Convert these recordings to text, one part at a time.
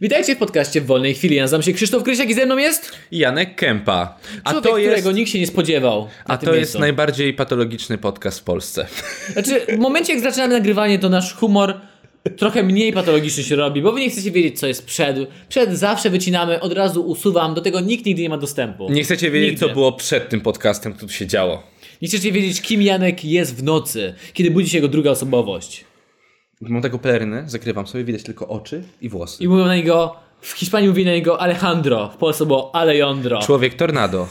Witajcie w podcaście w wolnej chwili. Ja nazywam się Krzysztof Krysiak i ze mną jest Janek Kępa. A człowiek, to jest, którego nikt się nie spodziewał. na a tym to jest miejscu. najbardziej patologiczny podcast w Polsce. Znaczy, w momencie jak zaczynamy nagrywanie, to nasz humor trochę mniej patologiczny się robi, bo wy nie chcecie wiedzieć, co jest przed. Przed zawsze wycinamy, od razu usuwam, do tego nikt nigdy nie ma dostępu. Nie chcecie wiedzieć, Nigdy. co było przed tym podcastem, co tu się działo. Nie chcecie wiedzieć, kim Janek jest w nocy, kiedy budzi się jego druga osobowość. Mam taką pelerynę, zakrywam sobie, widać tylko oczy i włosy. I mówią na niego, w Hiszpanii mówi na niego Alejandro, w Polsce było Alejandro. Człowiek tornado.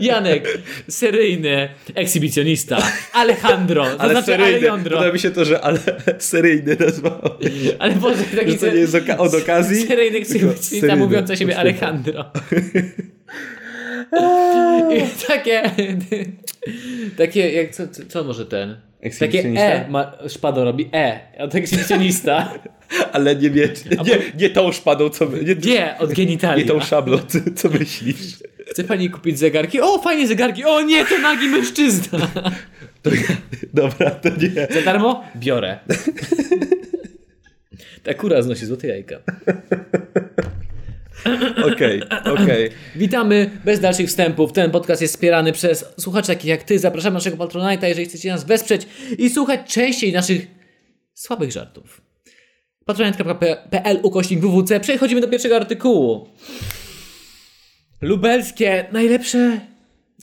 Janek, seryjny ekshibicjonista. Alejandro, to znaczy Alejandro. Podoba mi się to, że ale seryjny nazwał. Ale Boże, taki Że to nie jest oka- od okazji? Seryjny Seryjny, ksywicista mówiąc o siebie oczywiście. Alejandro. I takie... Takie, jak, co, co- co może ten? Takie Ekshibicjonista? E, ma, szpadą robi E, od ekshibicjonista. Ale nie wiecie. Nie, nie tą szpadą, co my, nie, G od genitalia. nie tą szablą, co, co myślisz. Chce pani kupić zegarki? O, fajnie zegarki! O nie, to nagi mężczyzna! To, dobra, to nie. Za darmo? Biorę. Ta kura znosi złote jajka. Okej, okej. Witamy bez dalszych wstępów. Ten podcast jest wspierany przez słuchaczy takich jak ty. Zapraszamy naszego Patronite'a, jeżeli chcecie nas wesprzeć i słuchać częściej naszych słabych żartów. Patronite.pl ukośnik WWC. Przechodzimy do pierwszego artykułu. Lubelskie najlepsze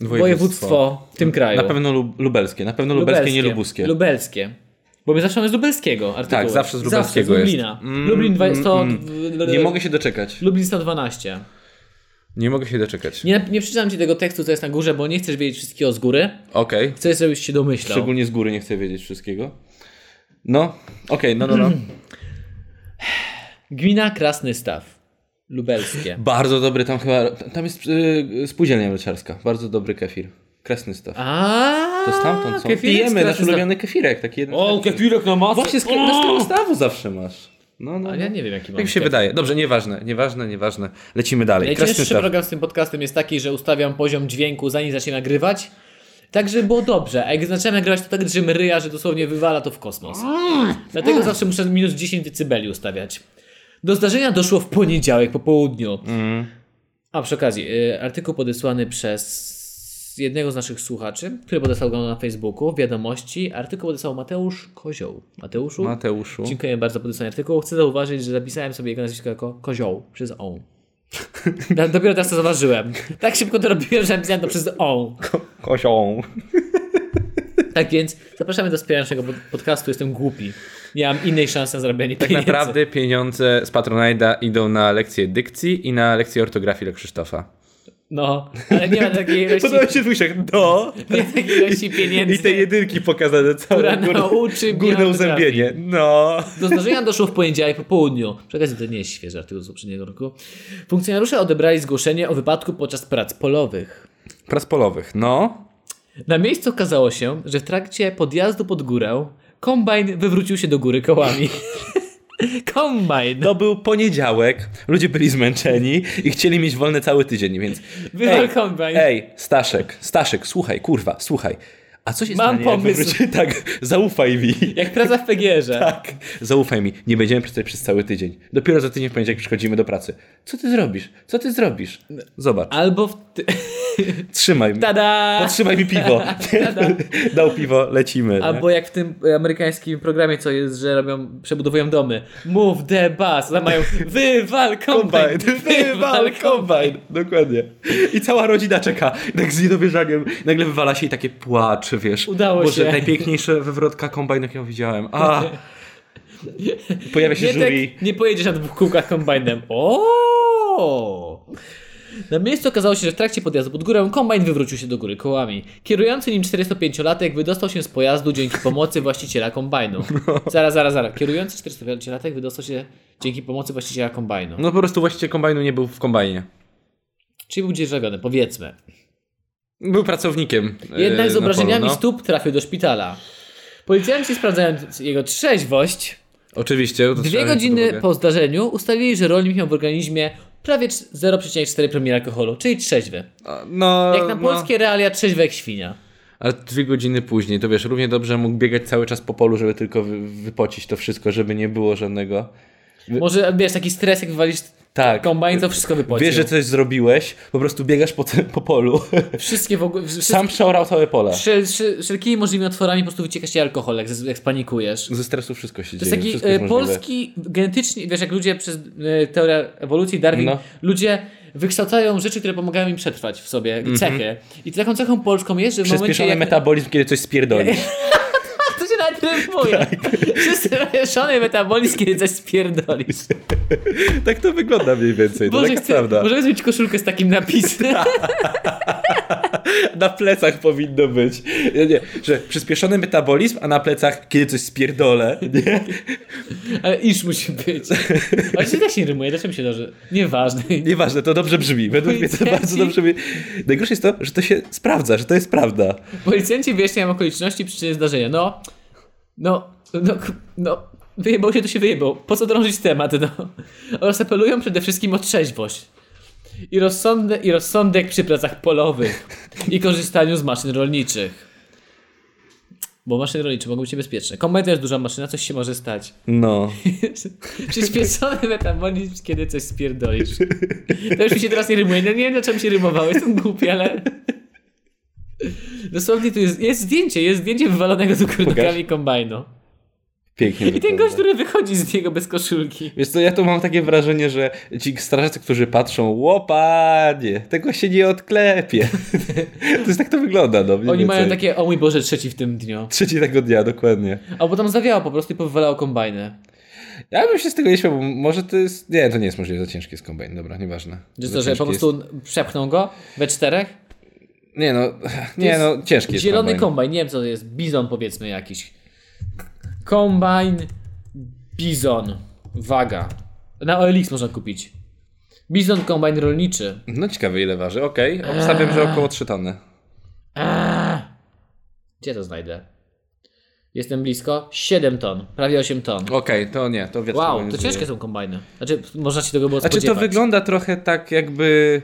województwo, w tym kraju. Na pewno lub, lubelskie, na pewno lubelskie, nie lubuskie. Lubelskie. Bo my zawsze mamy z lubelskiego artykułu. Tak, zawsze z lubelskiego zawsze, z jest. Lublina. Mm, Lublin 200... mm, Nie mogę się doczekać. Lublin 112. Nie mogę się doczekać. Nie, nie przeczytam ci tego tekstu, co jest na górze, bo nie chcesz wiedzieć wszystkiego z góry. Okej. Chcesz, żebyś się domyślał. Szczególnie z góry nie chcę wiedzieć wszystkiego. No, okej, no, no, no. Gmina Krasny Staw. Lubelskie. Bardzo dobry tam chyba. Tam jest y, spółdzielnia mleczarska. Bardzo dobry kefir. Kresny staw. A, To stamtąd są. kefirek z Pijemy Krasny nasz Staw. ulubiony kefirek. Taki jeden. O, kefirek na masę. Właśnie z O! kresnego stawu zawsze masz. No, no. A no. ja nie wiem, jaki mam Jak mi się kefir. wydaje. Dobrze, nieważne, nieważne, nieważne. Lecimy dalej. Kresny Najcięższy staw. program z tym podcastem jest taki, że ustawiam poziom dźwięku zanim zacznie nagrywać. Tak, żeby było dobrze. A jak zaczynam nagrywać, to tak drżymy ryja, że dosłownie wywala to w kosmos. Dlatego zawsze muszę minus 10 dB ustawiać. Do zdarzenia doszło w poniedziałek po południu. A przy okazji, y, artykuł podesłany przez jednego z naszych słuchaczy, który podesłał go na Facebooku, w wiadomości. Artykuł podesłał Mateusz Kozioł. Mateuszu? Mateuszu. Dziękuję bardzo za podesłanie artykułu. Chcę zauważyć, że zapisałem sobie jego nazwisko jako kozioł przez on. Da- Dopiero teraz to zauważyłem. Tak szybko to robiłem, że napisałem to przez on. Kosią. Tak więc zapraszamy do wspierania naszego pod- podcastu. Jestem głupi. Nie mam innej szansy na zarabianie Tak pieniędzy. naprawdę pieniądze z Patronite'a idą na lekcje dykcji i na lekcje ortografii dla Krzysztofa. No, ale nie mam takiej ilości, Podoba mi się dwójszek do nie mam takiej ilości i pieniędzy. te jedynki pokazane Która całe nauczy mnie górne ortografii. uzębienie. No. Do zdarzenia doszło w poniedziałek po południu. Przy okazji to nie jest świeży artykuł z poprzedniego roku. Funkcjonariusze odebrali zgłoszenie o wypadku podczas prac polowych. Prac polowych. No. Na miejscu okazało się, że w trakcie podjazdu pod górę kombajn wywrócił się do góry kołami. kombajn! no, To był poniedziałek, ludzie byli zmęczeni i chcieli mieć wolny cały tydzień, więc... Wywal kombajn. ej, Staszek, Staszek, słuchaj, kurwa, słuchaj. A co się Mam stanie, jak pomysł. wywróci- Tak, zaufaj mi. Jak praca w PGR-ze. Tak, zaufaj mi, nie będziemy przez, przez cały tydzień. Dopiero za tydzień w poniedziałek przychodzimy do pracy. Co ty zrobisz? Co ty zrobisz? Zobacz, Albo w... Ty... trzymaj mi. Tada! Potrzymaj mi piwo. Dał piwo, lecimy. nie? Albo jak w tym e, amerykańskim programie, co jest, że robią, przebudowują domy. Move the bus! Tam mają wywal kombajn! Wywal kombajn. Dokładnie. I cała rodzina czeka. I tak z niedowierzaniem nagle wywala się i takie płacz, wiesz. Udało Boże, się. najpiękniejsze wywrotka kombajn, jaką widziałem. A. Pojawia się nie, jury. tak, nie pojedziesz na dwóch kółkach kombajnem. O! Na miejscu okazało się, że w trakcie podjazdu pod górę kombajn wywrócił się do góry kołami. Kierujący nim 45-latek wydostał się z pojazdu dzięki pomocy właściciela kombajnu. No. Zaraz, zaraz, zaraz. Kierujący 45-latek wydostał się dzięki pomocy właściciela kombajnu. No po prostu właściciel kombajnu nie był w kombajnie. Czyli był dzierżawiony, powiedzmy. Był pracownikiem. e, Jednak z na obrażeniami polu, no. stóp trafił do szpitala. Policjanci sprawdzając jego trzeźwość, Oczywiście. to trzeba Dwie wziąć pod godziny uwagę. po zdarzeniu ustalili, że rolnik miał w organizmie prawie cz- 0,4 promila alkoholu, czyli trzeźwy. A, No, Jak na no. polskie realia trzeźwy jak świnia. Ale dwie godziny później, to wiesz, równie dobrze mógł biegać cały czas po polu, żeby tylko wy- wypocić to wszystko, żeby nie było żadnego Może wiesz, taki stres, jak walisz Tak. kombajn, to wszystko wypłaci. Wiesz, że coś zrobiłeś, po prostu biegasz po, tym- po polu. Wszystkie w ogóle. Wszyscy, Sam przeorał całe pole. wszel- wszel- wszelkimi możliwymi otworami po prostu wycieka ci alkohol, jak, z- jak spanikujesz. Ze stresu wszystko się To dzieje. jest taki wszystko jest e, możliwe. polski genetycznie, wiesz, jak ludzie przez e, teorię ewolucji, Darwin, No. ludzie wykształcają rzeczy, które pomagają im przetrwać w sobie, Mhm. cechy. I taką cechą polską jest, że w momencie Przyspieszony jak... metabolizm, kiedy coś spierdolisz. To się nawet rymuje. Tak. Przyspieszony metabolizm, kiedy coś spierdolisz. tak to wygląda mniej więcej. to Boże, taka chcę, prawda. Tak. możemy zrobić koszulkę z takim napisem. Na plecach powinno być. Nie, nie, że przyspieszony metabolizm, a na plecach, kiedy coś spierdolę. Nie? Ale iż musi być. Ale się też nie rymuje, dlaczego mi się dobrze? Nieważne. Nieważne, to dobrze brzmi. Według mnie to Policjanci- bardzo dobrze brzmi. Najgorsze jest to, że to się sprawdza, że to jest prawda. Policjanci wyjaśniają okoliczności i przyczyny zdarzenia. No, no, no, k- no, wyjebał się, to się wyjebał. Po co drążyć temat, no? Oraz apelują przede wszystkim o trzeźwość. I, rozsądne, I rozsądek przy pracach polowych. I korzystaniu z maszyn rolniczych. Bo maszyny rolnicze mogą być niebezpieczne. Komet jest duża maszyna, coś się może stać. No. Przyspieszony metabolizm, kiedy coś spierdolisz. To już mi się teraz nie rymuje. No nie wiem, dlaczego mi się rymowało. Jestem głupi, ale... Dosłownie tu jest, jest zdjęcie, jest zdjęcie wywalonego tu kurnakami kombajnu. Pięknie. I ten wygląda. gość, który wychodzi z niego bez koszulki. Wiesz co, ja tu mam takie wrażenie, że ci strażacy, którzy patrzą, łopanie, tego się nie odklepie. to jest tak to wygląda, no. mniej Oni mają więcej. takie, o mój Boże, trzeci w tym dniu. Trzeci tego dnia, dokładnie. Albo tam zawiało po prostu i powywalało kombajny. Ja bym się z tego nie śmiał, bo może to jest... Nie, to nie jest możliwe, za ciężki jest kombajn, dobra, nieważne. Że Za co, że po ciężki prostu przepchną go we czterech? jest- Nie no, nie jest no, ciężki jest Zielony kombajn. kombajn, nie wiem co to jest, bizon powiedzmy jakiś. Kombajn, bizon, waga. Na OLX można kupić. Bizon, kombajn rolniczy. No ciekawe ile waży, okej. Obstawiam, że około 3 tony. Eee. Gdzie to znajdę? Jestem blisko. 7 ton, prawie 8 ton. Okej, to nie, to wiadomo. Wow, to ciężkie są kombajny. Znaczy, można się tego było Znaczy spodziewać. to wygląda trochę tak jakby...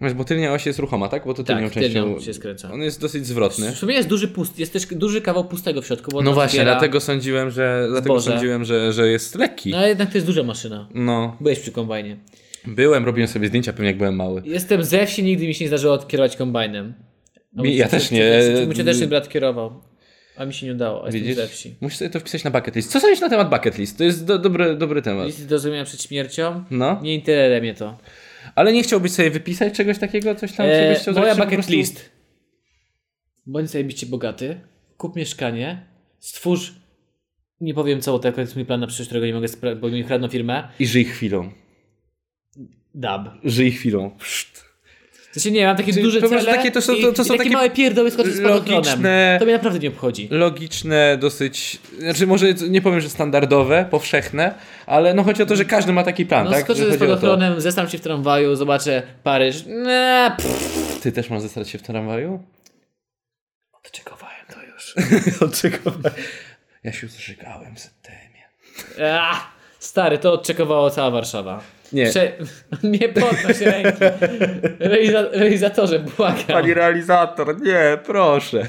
Wiesz, bo tylnia oś jest ruchoma, tak? Bo to tylnią Tak, częścią... tylnią się skręca. On jest dosyć zwrotny. W sumie jest duży pust, jest też duży kawał pustego w środku. Bo No ona właśnie, zbiera- dlatego sądziłem, że, dlatego Zboże. sądziłem, że, że jest lekki. No ale jednak to jest duża maszyna. No, Byłeś przy kombajnie. byłem, robiłem sobie zdjęcia pewnie jak byłem mały. Jestem ze wsi, nigdy mi się nie zdarzyło kierować kombajnem. No, A Mi- mój ja ciocie- też nie. ciocie- Mój cioteczny brat kierował, a mi się nie udało, a jestem Widzisz? ze wsi. Musisz sobie to wpisać na bucket list. Co sądzisz na temat bucket list? To jest do, dobry, dobry temat. Listy do zrozumienia przed śmiercią? No, Nie interesuje mnie to. ale nie chciałbyś sobie wypisać czegoś takiego? Coś tam, co byś E, chciał moja zrobić, żeby po bucket prostu- list. Bądź zajebiście bogaty, kup mieszkanie, stwórz... Nie powiem co, bo to akurat jest mój plan na przyszłość, którego nie mogę spra- bo mi kradną firmę. I żyj chwilą. Dab. Żyj chwilą. W sensie nie, mam takie Czyli duże to może cele takie- to są- i, to- to i są takie takie małe pierdoły skoczy z logiczne- To mnie naprawdę nie obchodzi. Logiczne, dosyć. Znaczy, może nie powiem, że standardowe, powszechne, ale no chodzi o to, że każdy ma taki plan, No tak? skoczę Że ze chodzi o to. spadochronem, zestam się w tramwaju, zobaczę Paryż. Nie, pff. Ty też masz zestrać się w tramwaju? Odczekowałem to już. Odczekowałem. Ja się zżygałem z temie. Ah, stary, to odczekowała cała Warszawa. Nie. Prze... Nie podnoś ręki. Realiza... Realizatorze, błagam. Pani realizator, nie, proszę.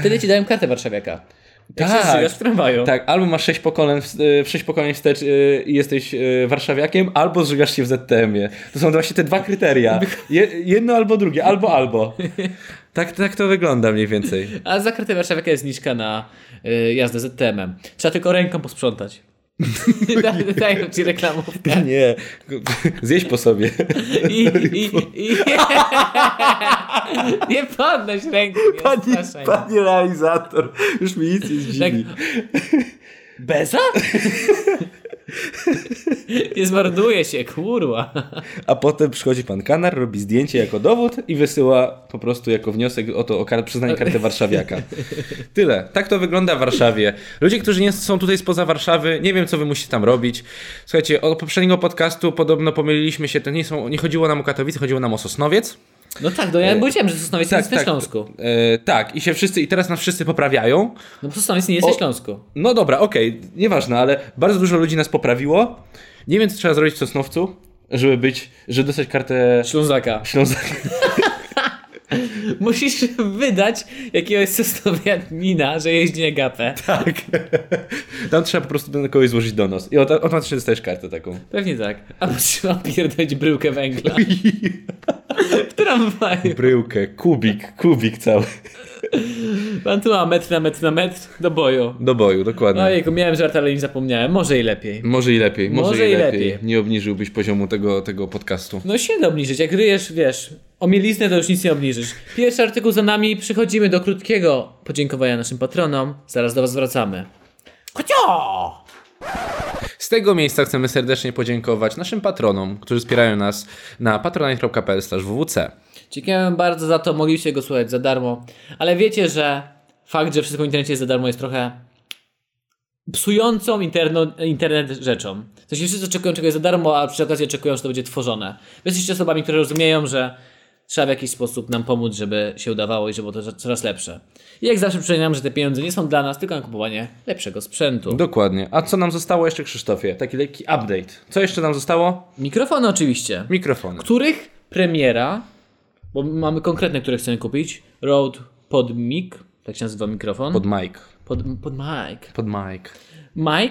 Wtedy ci dałem kartę warszawiaka. Jak Tak. się zżygasz w tramwaju. Tak, albo masz sześć pokoleń, w- y, w sześć pokoleń wstecz y, i jesteś y, warszawiakiem, albo zżygasz się w ZTM-ie. To są właśnie te dwa kryteria. Je, jedno albo drugie, albo albo. Tak, tak to wygląda mniej więcej. A za kartę warszawiaka jest zniżka na y, jazdę ZTM-em. Trzeba tylko ręką posprzątać. Nie da- Dają ci reklamówkę. Nie, zjeść po sobie. I, i, i... Nie podnoś ręki. nie odstraszaj. realizator, już mi nic nie Tak. Beza? Nie zmarnuje się, kurwa. A potem przychodzi pan Kanar, robi zdjęcie jako dowód i wysyła po prostu jako wniosek o to o kar- przyznanie karty warszawiaka. Tyle. Tak to wygląda w Warszawie. Ludzie, którzy nie są tutaj spoza Warszawy, nie wiem, co wy musicie tam robić. Słuchajcie, od poprzedniego podcastu podobno pomyliliśmy się, to nie, są, nie chodziło nam o Katowice, chodziło nam o Sosnowiec. No tak, no ja powiedziałem, że Sosnowiec Tak, nie jest na Śląsku. E, tak, i się wszyscy, i teraz nas wszyscy poprawiają. No Sosnowiec nie jest na O- Śląsku. No dobra, okej, nieważne, ale bardzo dużo ludzi nas poprawiło. Nie wiem, co trzeba zrobić w Sosnowcu, żeby być, żeby dostać kartę Ślązaka. Ślązaka. Musisz wydać jakiegoś sosnowianina, że jeździ na gapę. Tak. Tam trzeba po prostu na kogoś złożyć donos. I auto- automatycznie dostajesz kartę taką. Pewnie tak. A trzeba pierdolić bryłkę węgla. W tramwaju. Bryłkę, kubik, kubik cały. Pan tu ma metr na metr na metr do boju. Do boju, dokładnie. Ojejku, miałem żart, ale im zapomniałem. Może i lepiej. Może i lepiej, może, Może i i lepiej. lepiej. Nie obniżyłbyś poziomu tego, tego podcastu. No się da obniżyć. Jak ryjesz, wiesz, o mieliznę to już nic nie obniżysz. Pierwszy artykuł za nami. Przechodzimy do krótkiego podziękowania naszym patronom. Zaraz do was wracamy. Kocio! Z tego miejsca chcemy serdecznie podziękować naszym patronom, którzy wspierają nas na patronite.pl/wwc. Dziękujemy bardzo za to, mogliście go słuchać za darmo. Ale wiecie, że fakt, że wszystko w internecie jest za darmo jest trochę psującą interno, internet rzeczą. W sensie wszyscy oczekują czegoś za darmo, a przy okazji oczekują, że to będzie tworzone. Wy jesteście osobami, które rozumieją, że trzeba w jakiś sposób nam pomóc, żeby się udawało i żeby było to coraz lepsze. I jak zawsze przypominam, że te pieniądze nie są dla nas, tylko na kupowanie lepszego sprzętu. Dokładnie. A co nam zostało jeszcze, Krzysztofie? Taki lekki update. Co jeszcze nam zostało? Mikrofony oczywiście. Mikrofony. których premiera, bo mamy konkretne, które chcemy kupić, Rode pod mic, tak się nazywa mikrofon, Pod pod, mic. pod, mic, Pod mic. mic,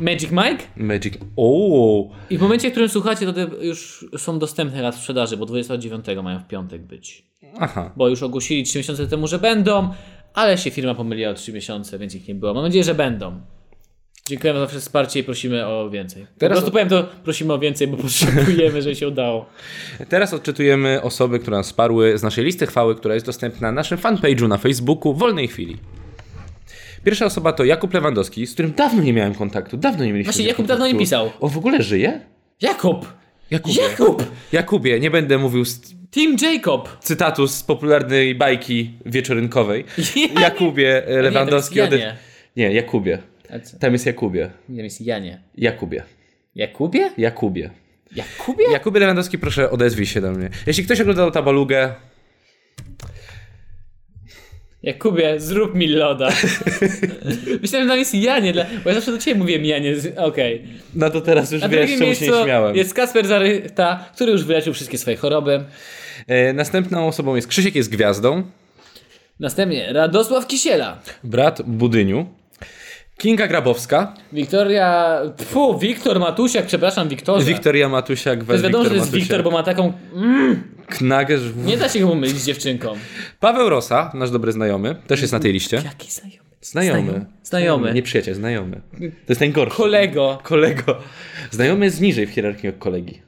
Magic Mic Magic. O, i w momencie, w którym słuchacie, to te już są dostępne raz w sprzedaży, bo 29 mają w piątek być, Aha. bo już ogłosili 3 miesiące temu, że będą, ale się firma pomyliła o 3 miesiące, więc ich nie było. Mam nadzieję, że będą. Dziękujemy za wsparcie i prosimy o więcej. Teraz- Teraz... Po prostu powiem to, prosimy o więcej, bo potrzebujemy, że się udało. Teraz odczytujemy osoby, które nas sparły z naszej listy chwały, która jest dostępna na naszym fanpage'u na Facebooku w wolnej chwili. Pierwsza osoba to Jakub Lewandowski, z którym dawno nie miałem kontaktu, dawno nie mieliśmy Właśnie z nim Jakub dawno nie kontaktu. pisał. On w ogóle żyje? Jakub! Jakubie. Jakub! Jakubie, nie będę mówił z Team Jacob! cytatu z popularnej bajki wieczorynkowej. Ja Jakubie e, Lewandowski... tak jest ode- Janie. nie, Jakubie. A co? Tam jest Jakubie. Nie jest Janie. Jakubie. Jakubie? Jakubie. Jakubie? Jakubie Lewandowski, proszę odezwij się do mnie. Jeśli ktoś oglądał tabalugę, Jakubie, zrób mi loda. Myślałem, że tam jest Janie, dla... bo ja zawsze do ciebie mówiłem Janie. z- Okej. no to teraz już Na wiesz, drugim czemu się nie miejscu śmiałem. jest Kasper Zaryta, który już wyleczył wszystkie swoje choroby. E, Następną osobą jest Krzysiek jest gwiazdą, Następnie Radosław Kisiela. brat Budyniu, Kinga Grabowska, Wiktoria... Pfu, Wiktor Matusiak, przepraszam, Wiktorze. Wiktoria Matusiak, To jest wiadomo, że to jest Matusiak, Wiktor, bo ma taką... Mm, Knagerz, nie da się go pomylić z dziewczynką. Paweł Rosa, nasz dobry znajomy, też jest na tej liście. Jaki znajomy? Znajomy. Znajomy. Nie przyjaciel, znajomy. To jest najgorszy. Kolego. Kolego. Znajomy jest niżej w hierarchii od kolegi.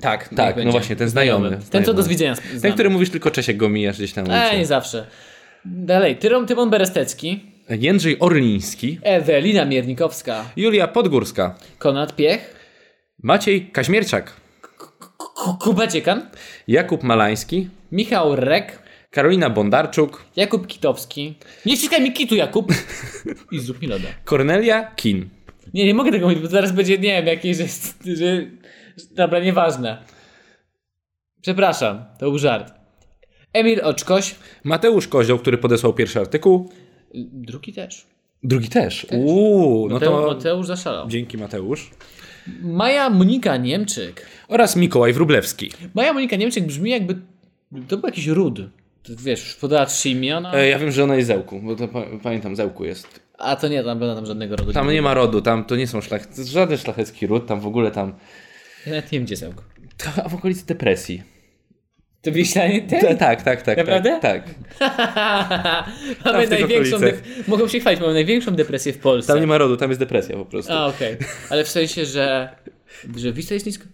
Tak, Tak, niech no będzie. właśnie, ten znajomy. Ten, co Znajomy. do zwidzenia. z- Ten, znamy. który mówisz tylko Czesiek, go mijasz gdzieś tam. E, nie ulicy. zawsze. Dalej, Tyron Tymon Berestecki, Jędrzej Orliński, Ewelina Miernikowska, Julia Podgórska, Konrad Piech, Maciej Kaźmierczak, K- Kuba Dziekan, Jakub Malański, Michał Rek, Karolina Bondarczuk, Jakub Kitowski. Nie ściskaj mi kitu, Jakub! I zrób mi loda. Kornelia Kin. Nie, nie mogę tego mówić, bo zaraz będzie, nie wiem, jakieś, że, że, że... Dobra, nieważne. Przepraszam, to był żart. Emil Oczkoś, Mateusz Kozioł, który podesłał pierwszy artykuł. drugi też. Drugi też. Uuu, no Mateusz, to Mateusz zaszalał. dzięki Mateusz. Maja Monika Niemczyk. Oraz Mikołaj Wróblewski. Maja Monika Niemczyk brzmi jakby to był jakiś rud. To, Wiesz, podała trzy imiona, E, ja wiem, że ona jest Zełku, bo to pa- pamiętam, Zełku jest. a to nie, tam pewno tam żadnego rodu. Tam nie, nie ma rodu, tam to nie są szlach, żaden szlachecki ród, tam w ogóle tam... ja nawet nie wiem, gdzie Zełko. To w okolicy depresji. To Wiślanie Ta, ten? tak, tak, tak. Naprawdę? Tak, tak. Mamy w tych największą okolicach. dep- Mogą się chwalić, mamy największą depresję w Polsce. Tam nie ma rodu, tam jest depresja po prostu. A, okej. Ale w sensie, że... Że Wisła jest nisko?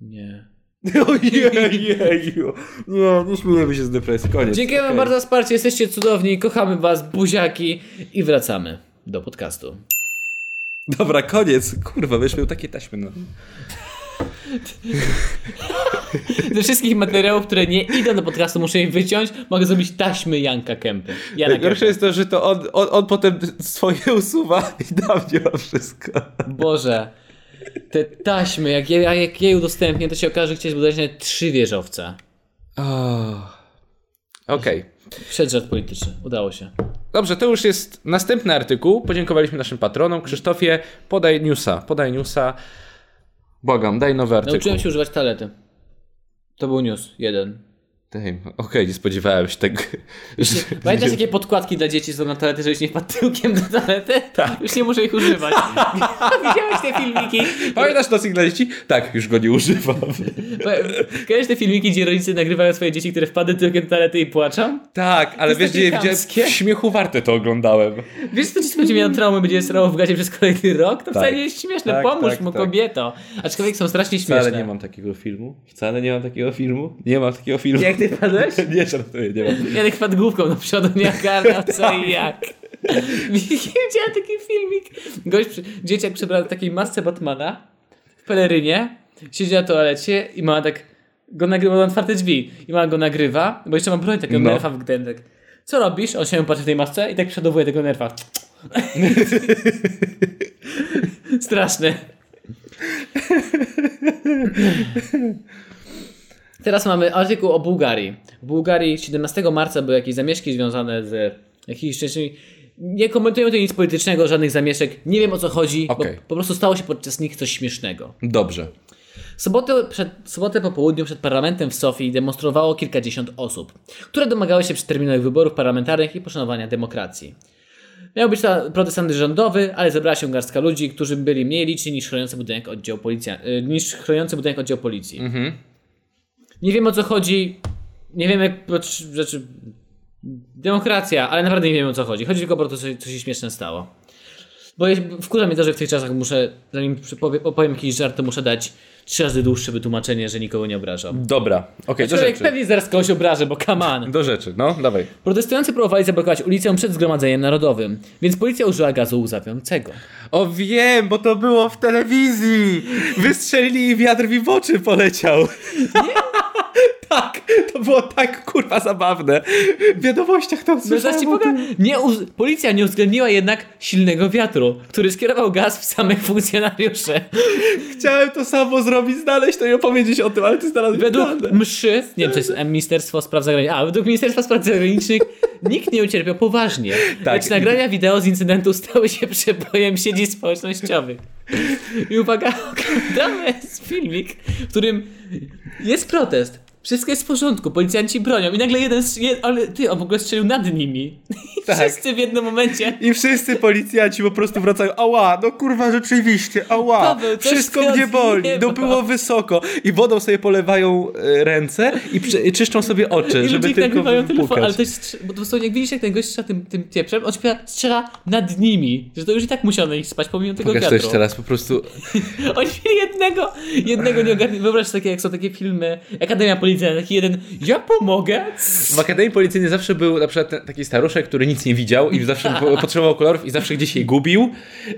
Nie. Ojejeju. Nie, nie śmiejemy się z depresji, koniec. Dziękujemy Okej. bardzo za wsparcie, jesteście cudowni, kochamy was, buziaki i wracamy do podcastu. Dobra, koniec. Kurwa, wiesz, miał takie taśmy no. na... Ze wszystkich materiałów, które nie idą do podcastu, muszę je wyciąć, mogę zrobić taśmy Janka Kępy. Jana Kępy. Najgorsze jest to, że to on, on, on potem swoje usuwa i da mnie ma wszystko. Boże. Te taśmy, jak je, a jak je udostępnię, to się okaże, że chciałeś budować nawet trzy wieżowce. Oh. Okej. Przedrzad polityczny. Udało się. Dobrze, to już jest następny artykuł. Podziękowaliśmy naszym patronom. Krzysztofie, podaj newsa. Podaj newsa. Błagam, daj nowy artykuł. Nauczyłem się używać talety. To był news. Jeden. Damn, okej, nie spodziewałem się tego. Że... Pamiętasz, jakie podkładki dla dzieci są na toalety, żebyś nie padł tyłkiem do toalety? Tak. Już nie muszę ich używać. Widziałeś te filmiki? Pamiętasz nocnik dla dzieci? Tak, już go nie używam. Kojarzysz te filmiki, gdzie rodzice nagrywają swoje dzieci, które wpadły tyłkiem do toalety i płaczą? Tak, ale jest wiesz, takie gdzie gdzie chamskie. w śmiechu warte to oglądałem. Wiesz, co dziecko będzie miało traumę, będzie srało w gazie przez kolejny rok? To wcale nie jest śmieszne. Tak, Pomóż tak, mu, tak. kobieto. Aczkolwiek są strasznie śmieszne. Wcale nie mam takiego filmu. Wcale nie mam takiego filmu. Nie mam takiego filmu. Jak ty padłeś? Nie żartuję, nie mam. Janek wpadł główką do przodu, nie ogarnął co i jak. Widziałem taki filmik. Gość, przy... dzieciak przebrał w takiej masce Batmana w pelerynie, siedzi na toalecie i ma tak, go nagrywa na otwarte drzwi. I ma go nagrywa, bo jeszcze ma broń takiego No. nerfa w gdętek. Co robisz? On się patrzy w tej masce i tak przodowuje tego nerfa. Straszne. Teraz mamy artykuł o Bułgarii. W Bułgarii 17 marca były jakieś zamieszki związane z jakimiś częściami. Nie komentujemy tu nic politycznego, żadnych zamieszek. Nie wiem o co chodzi, Okej. bo po prostu stało się podczas nich coś śmiesznego. Dobrze. Sobotę, przed, sobotę po południu przed parlamentem w Sofii demonstrowało kilkadziesiąt osób, które domagały się przedterminowych wyborów parlamentarnych i poszanowania demokracji. Miał być to protest rządowy, ale zebrała się garstka ludzi, którzy byli mniej liczni niż chroniący budynek oddział, policja, y, niż chroniący budynek oddział policji. Nie wiem o co chodzi, nie wiem jak... po- czy- Rzeczy, demokracja, ale naprawdę nie wiem o co chodzi. Chodzi tylko o to, co, co się śmieszne stało. Bo jest- wkurza mnie to, że w tych czasach muszę, zanim przypowie- opowiem jakiś żart, to muszę dać trzy razy dłuższe wytłumaczenie, że nikogo nie obrażam. Dobra. Okej, Mm. do Człowiek rzeczy. pewnie zaraz kogoś obrażę, bo come on. Do rzeczy, no, dawaj. Protestujący próbowali zablokować ulicę przed Zgromadzeniem Narodowym, więc policja użyła gazu łzawiącego. O wiem, bo to było w telewizji. Wystrzelili i wiatr mi w oczy poleciał. tak, to było tak kurwa zabawne. W wiadomościach tam No zaraz ci o tym. powiem, nie uz- policja nie uwzględniła jednak silnego wiatru, który skierował gaz w samych funkcjonariuszy. Chciałem to samo zrobić, znaleźć to i opowiedzieć o tym, ale ty znalazłeś Według mszy, nie wiem, to jest Ministerstwo Spraw Zagranicznych, a według Ministerstwa Spraw Zagranicznych nikt nie ucierpiał poważnie. Tak. Tak. Lecz nagrania wideo z incydentu stały się przebojem sieci społecznościowych. I uwaga, oglądamy filmik, w którym jest protest. Wszystko jest w porządku, policjanci bronią i nagle jeden, strz- jed, ale ty, on w ogóle strzelił nad nimi. I Tak. wszyscy w jednym momencie I wszyscy policjanci po prostu wracają, ała, no kurwa rzeczywiście, ała, Paweł, coś wszystko ty mnie boli, odjebał. no było wysoko. I wodą sobie polewają e, ręce i, przy, i czyszczą sobie oczy, i tak żeby ludzie tylko nagrywają telefon, ale wypukać. to jest, strz- bo to są, jak widzisz, jak ten gość strzela tym, tym pieprzem, on śpiewa, strzela nad nimi, że to już i tak musiał na nich spać pomimo tego Pokaż to wiatru. jeszcze raz, po prostu Oni mieli jednego, jednego nie ogarnęli. Wyobraź sobie, takie, jak są takie filmy, Akademia Policyjna, taki jeden, ja pomogę? W Akademii Policyjnej zawsze był na przykład ten, taki staruszek, który nic nie widział i zawsze po- potrzebował kolorów i zawsze gdzieś je gubił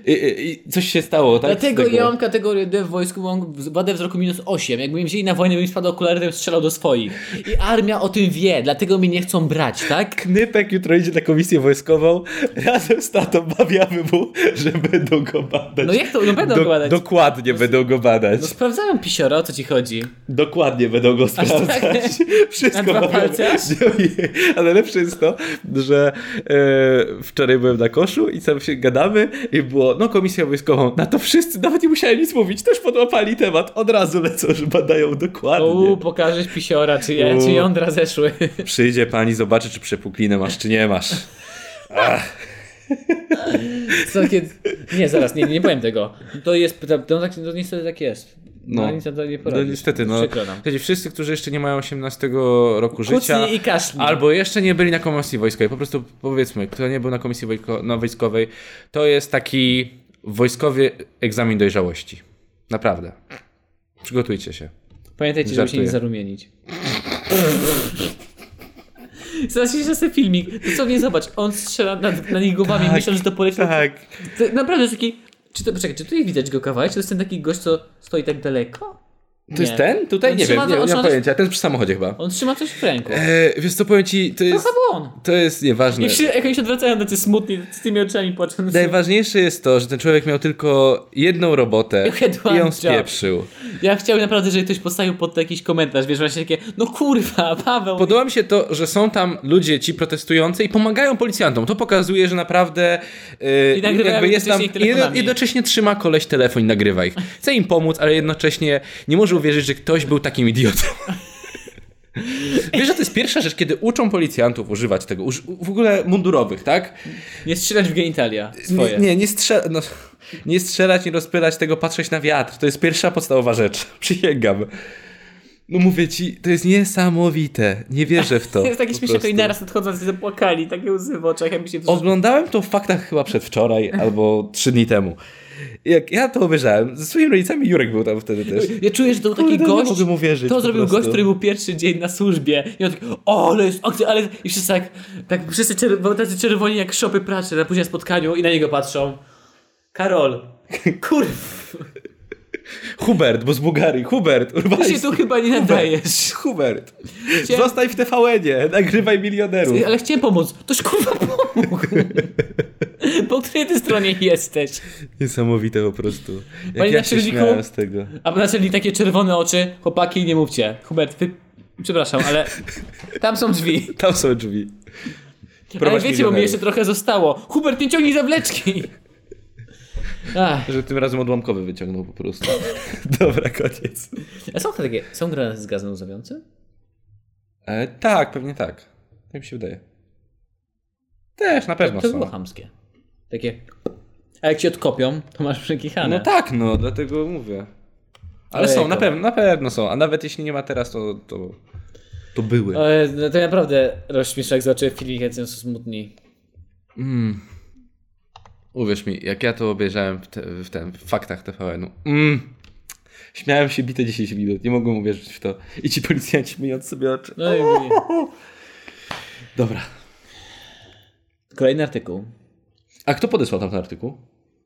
i, i, i coś się stało, tak? Dlatego Z tego. ja mam kategorię D w wojsku, bo mam wadę wzroku minus 8. Jakby mi wzięli na wojnę, bym im spadł okulary, to bym strzelał do swoich. I armia o tym wie, dlatego mi nie chcą brać, tak? Knypek jutro idzie na komisję wojskową, razem z tatą bawiamy mu, że będą go badać. No jak to? No będą Do- badać. Dokładnie będą go badać. No sprawdzają pisiora, o co ci chodzi? Dokładnie będą go sprawdzać. Wszystko Na dwa będą- palce aż? Nie, Ale lepsze jest to, że e, wczoraj byłem na koszu i tam się gadamy i było, no komisja wojskową, na to wszyscy, nawet nie musiałem nic mówić, też podłapali temat, od razu lecą, że badają dokładnie. Uuu, pokażesz pisiora, czy, ja, Uuu. czy jądra zeszły. Przyjdzie pani, zobaczy, czy przepuklinę masz, czy nie masz. Co, kiedy... Nie, zaraz, nie, nie powiem tego. To jest, no, tak, no niestety tak jest. No, No. nic na to nie No poradzisz. niestety, no. Przykro nam. Słuchajcie, wszyscy, którzy jeszcze nie mają 18 roku życia, Kucnij i kaszlij. Albo jeszcze nie byli na komisji wojskowej. Po prostu powiedzmy, kto nie był na komisji wojsko- no, wojskowej, to jest taki wojskowy egzamin dojrzałości. Naprawdę. Przygotujcie się. Pamiętajcie, żeby się Żartuję. nie zarumienić. Zobaczcie jeszcze sobie filmik. To co nie zobacz, on strzela nad, na nich głowami, Tak, myśląc, że to poleci. Tak. To, naprawdę jest taki. Czy to, poczekaj, czy tutaj widać go kawałek? Czy to jest ten taki gość, co stoi tak daleko? To jest ten? Tutaj On nie trzyma wiem, nie, za- nie mam on- pojęcia. Ten przy samochodzie chyba. On trzyma coś w ręku. E, wiesz co, powiem ci, to To jest, chyba on. to jest I nieważne. wszyscy jakoś się odwracają tacy smutni, z tymi oczami płacząc. Najważniejsze jest to, że ten człowiek miał tylko jedną robotę Had one i ją job. spieprzył. Ja chciałbym naprawdę, żeby ktoś postawił pod to jakiś komentarz, wiesz, właśnie takie, no kurwa, Paweł. Podoba mi się to, że są tam ludzie ci protestujący i pomagają policjantom. To pokazuje, że naprawdę yy, I nagrywają jakby jest tam jednocześnie ich telefonami. jedno- jednocześnie trzyma koleś telefon i nagrywa ich. Chce im pomóc, ale jednocześnie nie może uwierzyć, że ktoś był takim idiotą. Wiesz, że to jest pierwsza rzecz, kiedy uczą policjantów używać tego, uż- w ogóle mundurowych, tak? Nie strzelać w genitalia swoje. Nie, nie, nie, strze- no, nie strzelać, nie rozpylać tego, patrzeć na wiatr. To jest pierwsza podstawowa rzecz. Przysięgam. No mówię ci, to jest niesamowite. Nie wierzę w to. To jest taki po śmieszny prostu. naraz odchodzący zapłakali, takie łzy w tak oczach, jakby się... Oglądałem to w faktach chyba przedwczoraj albo trzy dni temu. Jak ja to obejrzałem, ze swoimi rodzicami Jurek był tam wtedy też. Ja czuję, że to był taki Kurde, nie gość, mogę mu wierzyć to po zrobił prostu. gość, który był pierwszy dzień na służbie i on tak, o, ale jest akcja, ale... I wszyscy tak, tak wszyscy czerw- tacy czerwoni jak szopy pracy na później spotkaniu i na niego patrzą. Karol, kurw, Hubert, bo z Bułgarii. Hubert, urwaj ty się tu chyba nie nadajesz. Hubert, zostań w TVN-ie, nagrywaj milionerów. Ale chciałem pomóc. Toś kurwa pomógł. Po której ty stronie jesteś? Niesamowite po prostu. Jak Panie ja się naczelniku? śmiałem z tego. A zaczęli takie czerwone oczy. Chłopaki, nie mówcie. Hubert, wy... Przepraszam, ale tam są drzwi. Tam są drzwi. Ale Prowadź wiecie, bo mi milionerów. jeszcze trochę zostało. Hubert, nie ciągnij zawleczki. Ach, Że tym razem odłamkowy wyciągnął po prostu. Dobra, koniec. a są takie, są granaty z gazem łzawiącym? E, tak, pewnie tak. Tak mi się wydaje. Też, na pewno To No są. było chamskie. Takie, a jak ci odkopią, to masz przekichane. No tak, no, dlatego mówię. Ale Ojejku. są, na pewno, na pewno są. A nawet jeśli nie ma teraz, to, to, to były. E, No to naprawdę rozśmieszak jak zobaczyłem filmik, jak są smutni. Uwierz mi, jak ja to obejrzałem w, te, w, ten, w faktach TVN-u. Mm. Śmiałem się bite 10 minut, nie mogłem uwierzyć w to. I ci policjanci myjąc sobie oczy. No i mówię. Dobra. Kolejny artykuł. A kto podesłał tam ten artykuł?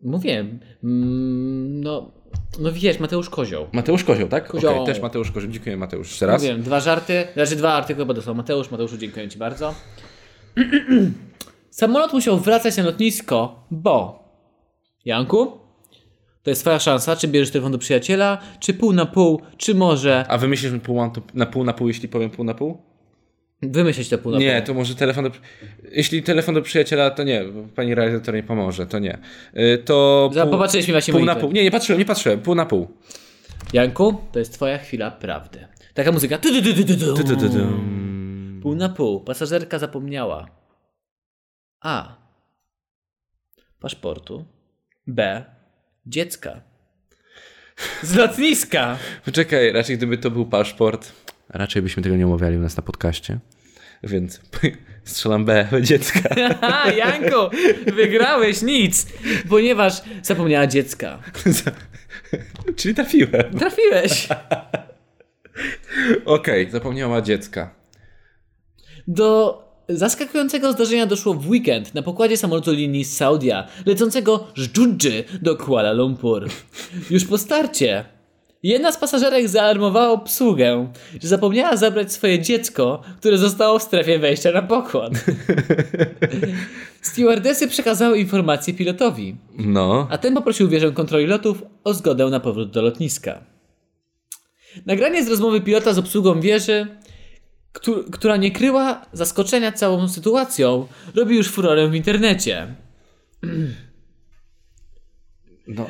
Mówiłem, mm, no, no wiesz, Mateusz Kozioł. Mateusz Kozioł, tak? Okej, Kozioł. też Mateusz Kozioł. Dziękuję Mateusz jeszcze raz. Mówiłem, dwa żarty, znaczy dwa artykuły podesłał Mateusz. Mateuszu, dziękuję Ci bardzo. Samolot musiał wracać na lotnisko, bo... Janku? To jest twoja szansa, czy bierzesz telefon do przyjaciela, czy pół na pół, czy może... A wymyślisz mi pół na, na pół na pół, jeśli powiem pół na pół? Wymyśleć to pół na Nie, pół. to może telefon do... Jeśli telefon do przyjaciela, to nie. bo Pani realizator nie pomoże, to nie. Y, To Za- pół, Popatrzyliśmy właśnie pół na monitor. pół. Nie, nie patrzyłem, nie patrzyłem. Pół na pół. Janku, to jest twoja chwila prawdy. Taka muzyka... tu, tu, tu, tu, tu, Ty, ty, ty, ty. Pół na pół. Pasażerka zapomniała. A. Paszportu. B. Dziecka. Z lotniska. Poczekaj, raczej gdyby to był paszport, raczej byśmy tego nie omawiali u nas na podcaście. Więc strzelam B, dziecka. Haha, Janku, wygrałeś nic, ponieważ zapomniała dziecka. Czyli trafiłem. Trafiłeś Okej, zapomniała dziecka. do zaskakującego zdarzenia doszło w weekend na pokładzie samolotu linii Saudia, lecącego z Dżudży do Kuala Lumpur. Już po starcie jedna z pasażerek zaalarmowała obsługę, że zapomniała zabrać swoje dziecko, które zostało w strefie wejścia na pokład. Stewardesy przekazały informację pilotowi, No. a ten poprosił wieżę kontroli lotów o zgodę na powrót do lotniska. Nagranie z rozmowy pilota z obsługą wieży, któ- która nie kryła zaskoczenia całą sytuacją, robi już furorę w internecie. no.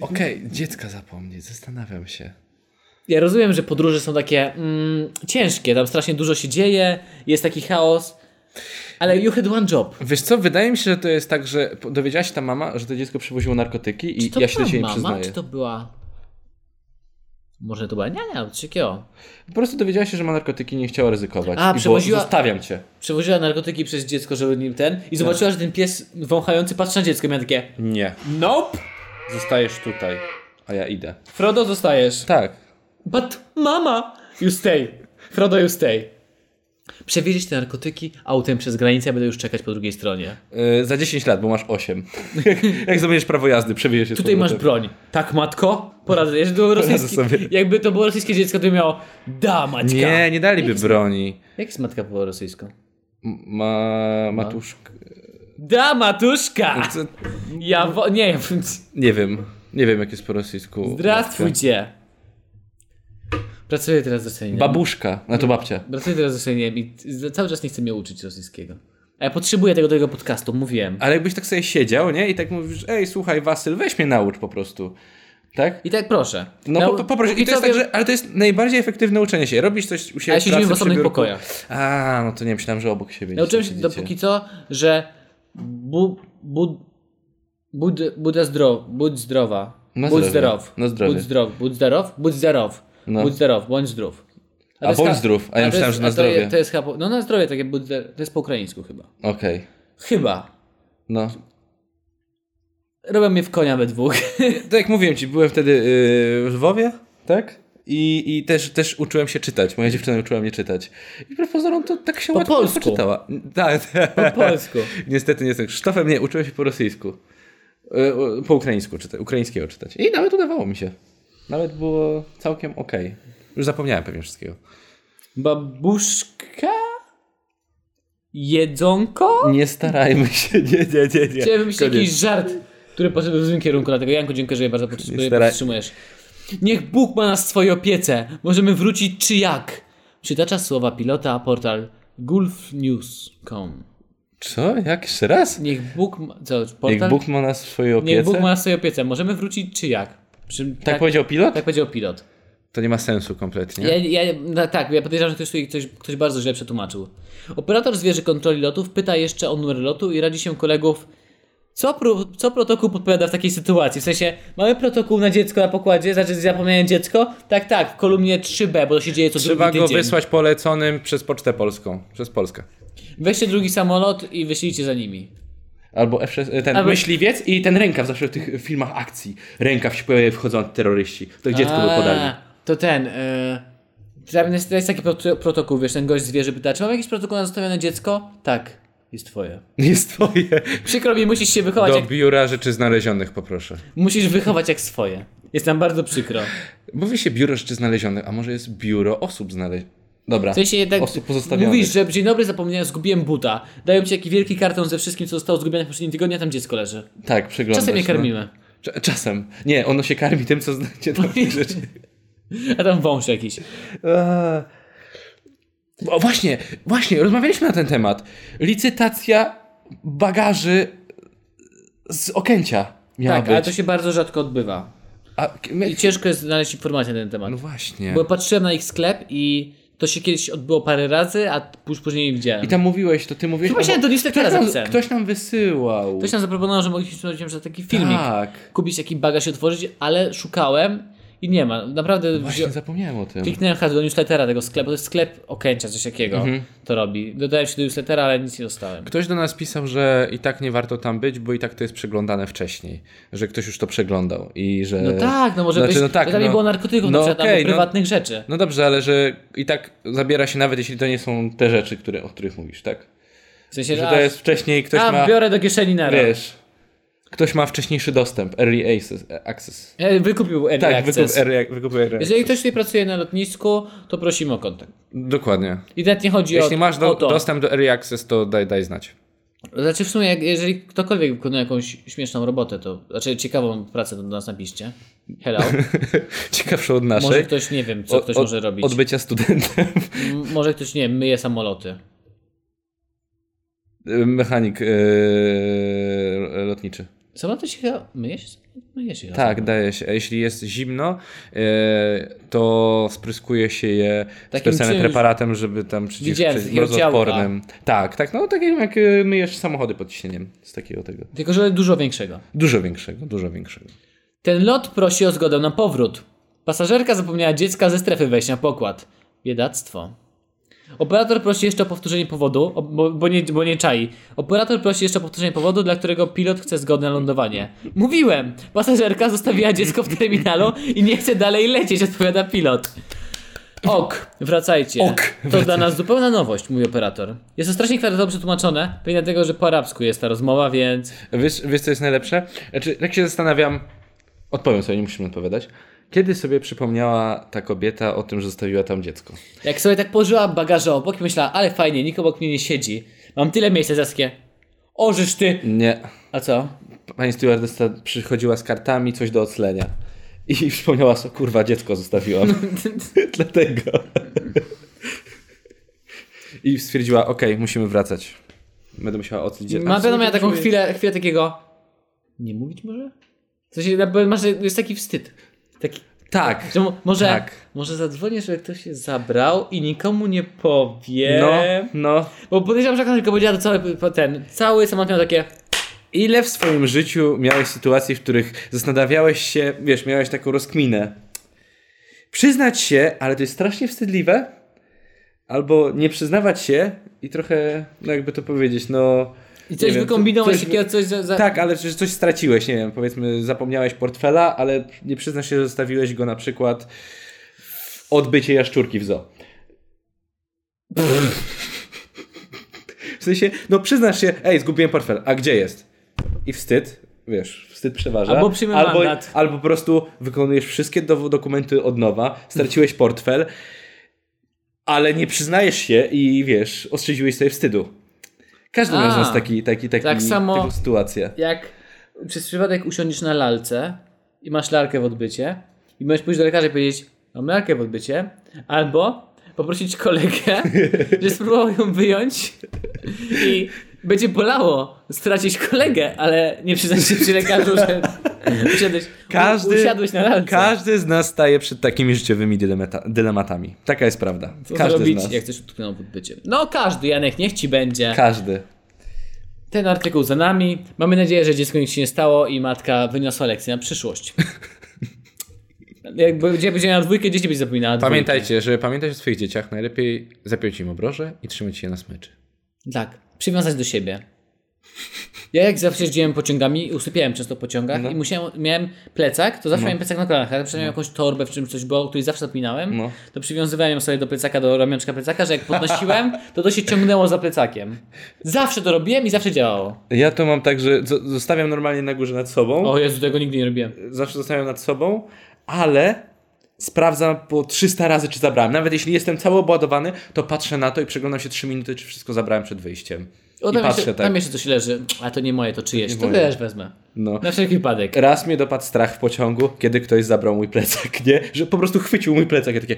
Okej, dziecka zapomnieć, zastanawiam się. Ja rozumiem, że podróże są takie mm, ciężkie, tam strasznie dużo się dzieje, jest taki chaos, ale you had one job. Wiesz co, wydaje mi się, że to jest tak, że po- dowiedziała się ta mama, że to dziecko przewoziło narkotyki Czy i to ja się do była siebie nie mama, przyznaję. czy to była... Może to była niania, czy kio? Po prostu dowiedziała się, że ma narkotyki i nie chciała ryzykować. A, I było, przewoziła- Zostawiam cię. Przewoziła narkotyki przez dziecko, żeby nim ten i zobaczyła, że ten pies wąchający patrzy na dziecko i miała takie Nie, Nope! zostajesz tutaj, a ja idę. Frodo zostajesz. Tak. But mama! You stay. Frodo, you stay. Przewieźć te narkotyki autem przez granicę, będę już czekać po drugiej stronie. Yy, za 10 lat, bo masz 8. jak, jak zdobędziesz prawo jazdy, przewijesz się z Tutaj masz powrotem. broń. Tak, matko? Poradzę. Jeżeli to było rosyjskie, sobie. jakby to było rosyjskie dziecko, to by miało da, maćka. Nie, nie daliby broni. Jak jest matka po rosyjsku? M- Ma, matuszka. Da, matuszka! Co? Ja wo- nie, Nie wiem. Nie wiem, jak jest po rosyjsku. drastwujcie. Pracuję teraz z Rosjaninem. Babuszka. No to babcia. Pracuję teraz z Rosjaninem i t- cały czas nie chcę mnie uczyć rosyjskiego. A ja potrzebuję tego do tego podcastu, mówiłem. Ale jakbyś tak sobie siedział, nie? I tak mówisz, ej, słuchaj, Wasyl, weź mnie naucz po prostu. Tak? I tak proszę. No, Nau- po, poproszę. I to widzowie- jest tak, że, ale to jest najbardziej efektywne uczenie się. Robisz coś u siebie A ja się w pracy, dziwię w osobnych przy biurku. pokojach. A, no to nie myślałem, że obok siebie. Nauczyłem się gdzieś tam dopóki co, że bu, bu, bud, buda zdrow, budź zdrowa, Na budź zdrowie. zdrow, Na zdrowie. budź zdrow, budź zdrow, budź zdrow, No. budź zdrow, bądź zdrów. A to jest bądź ha- zdrów, a ja to myślałem, jest- że na a to je- zdrowie. To jest chyba, po- no na zdrowie takie budź, zdrow- to jest po ukraińsku chyba. Okej. Chyba. No. Robią mnie w konia we dwóch. Tak jak mówiłem ci, byłem wtedy yy, w Lwowie, tak? I, i też, też uczyłem się czytać. Moja dziewczyna uczyła mnie czytać. I wbrew pozorom to tak się Po łatwo polsku. poczytała. Tak, tak. Po polsku. Niestety nie jestem Krzysztofem, nie, uczyłem się po rosyjsku. E, o, Po ukraińsku czytać, ukraińskiego czytać. I nawet udawało mi się. Nawet było całkiem okej. Już zapomniałem pewnie wszystkiego. Babuszka? Jedzonko? Nie starajmy się, nie, nie, nie. nie. Chciałem wymyślić Koniec. jakiś żart, który poszedł w złym kierunku, dlatego Janku dziękuję bardzo, Nie że staraj- powstrzymujesz. Niech Bóg ma nas w swojej opiece. Możemy wrócić czy jak? Przytacza słowa pilota portal gulfnews.com Co? Jak? Jeszcze raz? Niech Bóg ma... Co, portal? Jak Bóg ma nas w swojej opiece? Niech Bóg ma nas w swojej opiece. Możemy wrócić czy jak? Przy... Tak, powiedział pilot? Tak powiedział pilot. To nie ma sensu kompletnie. Ja, ja, no, tak, ja podejrzewam, że ktoś, tutaj ktoś, ktoś bardzo źle przetłumaczył. Operator zwierzy kontroli lotów pyta jeszcze o numer lotu i radzi się kolegów, co, pro, co protokół podpowiada w takiej sytuacji. W sensie, mamy protokół na dziecko na pokładzie, znaczy zapomniałem dziecko? Tak, tak, w kolumnie 3B, bo to się dzieje co Trzeba drugi go tydzień. wysłać poleconym przez Pocztę Polską. Przez Polskę. Weźcie drugi samolot i wyślijcie za nimi. Albo F6, ten Albo- myśliwiec i ten rękaw zawsze w tych filmach akcji. Rękaw się pojawia, wchodzą terroryści. To dziecko by A, podali. To ten. Y... Tam jest, to jest taki proto- protokół, wiesz, ten gość zwierzy pyta, czy mam jakiś protokół na zostawione dziecko? Tak, jest twoje. Jest twoje. Przykro mi, musisz się wychować Do jak biura rzeczy znalezionych poproszę. Musisz wychować jak swoje. Jest nam bardzo przykro. Mówi się biuro rzeczy znalezionych, a może jest biuro osób znalezionych. Dobra. W sensie jednak osób pozostawionych. mówisz, że dzień dobry, zapomniałem, zgubiłem buta. Dają ci taki wielki karton ze wszystkim, co zostało zgubione w poprzednim tygodniu, a tam dziecko leży. Tak, przeglądasz. Czasem je no. karmimy. Cza- Czasem. Nie, ono się karmi tym, co znacie tam tych rzeczy. A tam wąż jakiś. Eee. O właśnie, właśnie, rozmawialiśmy na ten temat. Licytacja bagaży z Okęcia miała Tak, być. ale to się bardzo rzadko odbywa. A, k- my- I ciężko jest znaleźć informacje na ten temat. No właśnie. Bo patrzyłem na ich sklep i to się kiedyś odbyło parę razy, a już później nie widziałem. I tam mówiłeś, to ty mówiłeś... Chyba się o- do newslettera ktoś nam, zapisałem. ktoś nam wysyłał. Ktoś nam zaproponował, że mogliśmy zrobić na taki filmik. Tak. Kupić taki bagaż i otworzyć, ale szukałem i nie ma. Naprawdę No Właśnie zapomniałem o tym. Kliknąłem hasło do newslettera tego sklepu, to jest sklep Okęcia, coś takiego Mhm. to robi. Dodałem się do newslettera, ale nic nie dostałem. Ktoś do nas pisał, że i tak nie warto tam być, bo i tak to jest przeglądane wcześniej. Że ktoś już to przeglądał i że... No tak, no może Znaczy, być, no tak, że tam nie no- było narkotyków, no no, na przykład, okej, albo no- prywatnych rzeczy. No dobrze, ale że i tak zabiera się nawet, jeśli to nie są te rzeczy, które, o których mówisz, tak? W sensie, Że że to jest wcześniej, ktoś a, ma... biorę do kieszeni na rok. Wiesz... Ktoś ma wcześniejszy dostęp, early access. access. E, Wykupił Early Tak, wykup, Access. early, wykup early access. Jeżeli ktoś tutaj pracuje na lotnisku, to prosimy o kontakt. Dokładnie. I nawet nie chodzi Jeśli o, masz o do, to. dostęp do Early Access, to daj, daj znać. Znaczy w sumie, jak, jeżeli ktokolwiek wykonuje jakąś śmieszną robotę, to znaczy ciekawą pracę, to do nas napiszcie. Hello. Ciekawsze od naszej. Może ktoś, nie wiem, co Od- ktoś od- może robić. Od bycia studentem. M- Może ktoś, nie wiem, myje samoloty. Mechanik yy, lotniczy. Samoloty się chyba... Myje się? Myje się chyba Tak, daje się. A Jeśli jest zimno, yy, to spryskuje się je Takim specjalnym czymś- preparatem, żeby tam przeciw Widziałem, z przeciw- takiego ciałka. mrozoodpornym. Tak, tak. No tak jak yy, myjesz samochody pod ciśnieniem. Z takiego tego. Tylko, że dużo większego. Dużo większego, dużo większego. Ten lot prosi o zgodę na powrót. Pasażerka zapomniała dziecka ze strefy wejścia na pokład. Biedactwo. Operator prosi jeszcze o powtórzenie powodu, o- bo, bo, nie, bo nie czai. Operator prosi jeszcze o powtórzenie powodu, dla którego pilot chce zgody na lądowanie. Mówiłem! Pasażerka zostawiła dziecko w terminalu i nie chce dalej lecieć, odpowiada pilot. Ok, wracajcie. Ok, To dla nas zupełna nowość, mówi operator. Jest to strasznie kwadratowo przetłumaczone, pewnie dlatego, że po arabsku jest ta rozmowa, więc... Wiesz, wiesz co jest najlepsze? Znaczy, jak się zastanawiam, odpowiem sobie, nie musimy odpowiadać. Kiedy sobie przypomniała ta kobieta o tym, że zostawiła tam dziecko? Jak sobie tak położyła bagaże obok i myślała, ale fajnie, nikt obok mnie nie siedzi. Mam tyle miejsca zaskie. Ożysz ty! Nie. A co? Pani stewardessa przychodziła z kartami, coś do oclenia. I przypomniała sobie, kurwa, dziecko zostawiłam. Dlatego. I stwierdziła, okej, musimy wracać. Będę musiała oclić dziecko. tak Mam pewno miała taką musimy- chwilę, chwilę takiego... Nie mówić może? W sensie, na- bo masz, jest taki wstyd. Taki, Tak. że mo- może, Tak. może zadzwonisz, że ktoś się zabrał i nikomu nie powie. No, no. Bo podejrzewam, że jak ona tylko powiedziała, to cały ten, cały samolot miał takie... Ile w swoim życiu miałeś sytuacji, w których zastanawiałeś się, wiesz, miałeś taką rozkminę. Przyznać się, ale to jest strasznie wstydliwe. Albo nie przyznawać się i trochę, no jakby to powiedzieć, no... I nie coś wiem, wykombinować, coś- takiego coś za... za... Tak, ale że coś straciłeś, nie wiem, powiedzmy zapomniałeś portfela, ale nie przyznasz się, że zostawiłeś go na przykład w odbycie jaszczurki w zoo. W sensie, no przyznasz się, ej, zgubiłem portfel, a gdzie jest? I wstyd, wiesz, wstyd przeważa. Albo przyjmę albo, mandat. albo po prostu wykonujesz wszystkie dow- dokumenty od nowa, straciłeś portfel, ale nie przyznajesz się i wiesz, ostrzedziłeś sobie wstydu. Każdy A, miał z nas taki, taki, taki, tak samo- taką sytuację. Jak przez przypadek usiądziesz na lalce i masz larkę w odbycie i możesz pójść do lekarza i powiedzieć, mam larkę w odbycie, albo poprosić kolegę, że spróbował ją wyjąć i będzie bolało stracić kolegę, ale nie przyznać się przy lekarzu, że usiadłeś, u, Każdy, usiadłeś na lalce. każdy z nas staje przed takimi życiowymi dylemata, dylematami. Taka jest prawda. Co każdy zrobić, z nas. jak ktoś utknął w odbycie? No każdy, Janek, niech ci będzie. Każdy. Ten artykuł za nami. Mamy nadzieję, że dziecko nic się nie stało i matka wyniosła lekcję na przyszłość. Jak będzie będzie miała dwójkę, dzieci będzie zapominała dwójkę. Pamiętajcie, żeby pamiętać o swoich dzieciach, najlepiej zapiąć im obroże i trzymać je na smyczy. Tak, przywiązać do siebie. Ja jak zawsze jeździłem pociągami i usypiałem często w pociągach i musiałem, miałem plecak, to zawsze miałem plecak na kolanach, ale przynajmniej miałem jakąś torbę, w czym coś było, o której zawsze zapominałem, No. to przywiązywałem ją sobie do plecaka, do ramionczka plecaka, że jak podnosiłem, to to się ciągnęło za plecakiem. Zawsze to robiłem i zawsze działało. Ja to mam tak, że zo- zostawiam normalnie na górze nad sobą. O Jezu, tego nigdy nie robiłem. Zawsze zostawiam nad sobą, ale sprawdzam po 300 razy, czy zabrałem. Nawet jeśli jestem cały obładowany, to patrzę na to i przeglądam się 3 minuty, czy wszystko zabrałem przed wyjściem. O, I tam, patrzę jeszcze, tak. tam jeszcze coś leży, a to nie moje, to czyjeś. To moje. też wezmę. No. Na wszelki wypadek. Raz mnie dopadł strach w pociągu, kiedy ktoś zabrał mój plecak, nie? Że po prostu chwycił mój plecak i takie...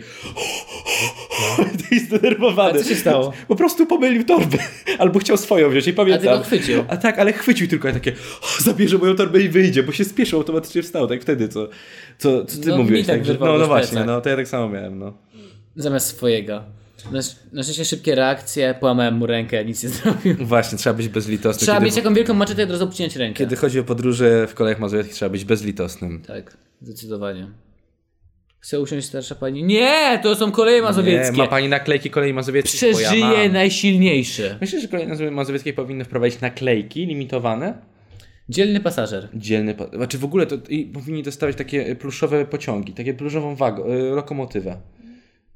I zdenerwowany. No. A co się stało? Po prostu pomylił torbę. Albo chciał swoją wziąć i pamiętam. A ty go chwycił. A tak, ale chwycił tylko i takie... O, zabierze moją torbę i wyjdzie, bo się spieszył, automatycznie wstał. Tak wtedy, co, co, co ty No, mi mówiłeś. tak Także- wyrwał no, no też właśnie, plecak. no to ja tak samo miałem, no. Zamiast swojego. Na, na szczęście szybkie reakcje, połamałem mu rękę, nic nie zrobił. Właśnie, trzeba być bezlitosny. Trzeba kiedy, mieć taką wielką maczetę i od razu obcinać rękę. kiedy chodzi o podróże w kolejach mazurieckich, trzeba być bezlitosnym. Tak, zdecydowanie. Chce usiąść starsza pani. Nie, to są koleje mazowieckie. Nie, ma pani naklejki kolei mazowieckiej? Bo ja Przeżyje mam. najsilniejszy. Myślę, że kolejne nazwy mazowieckie powinny wprowadzić naklejki limitowane. Dzielny pasażer. Dzielny. Po... Znaczy w ogóle to i powinni dostawać takie pluszowe pociągi, takie pluszową wagę, y, lokomotywę.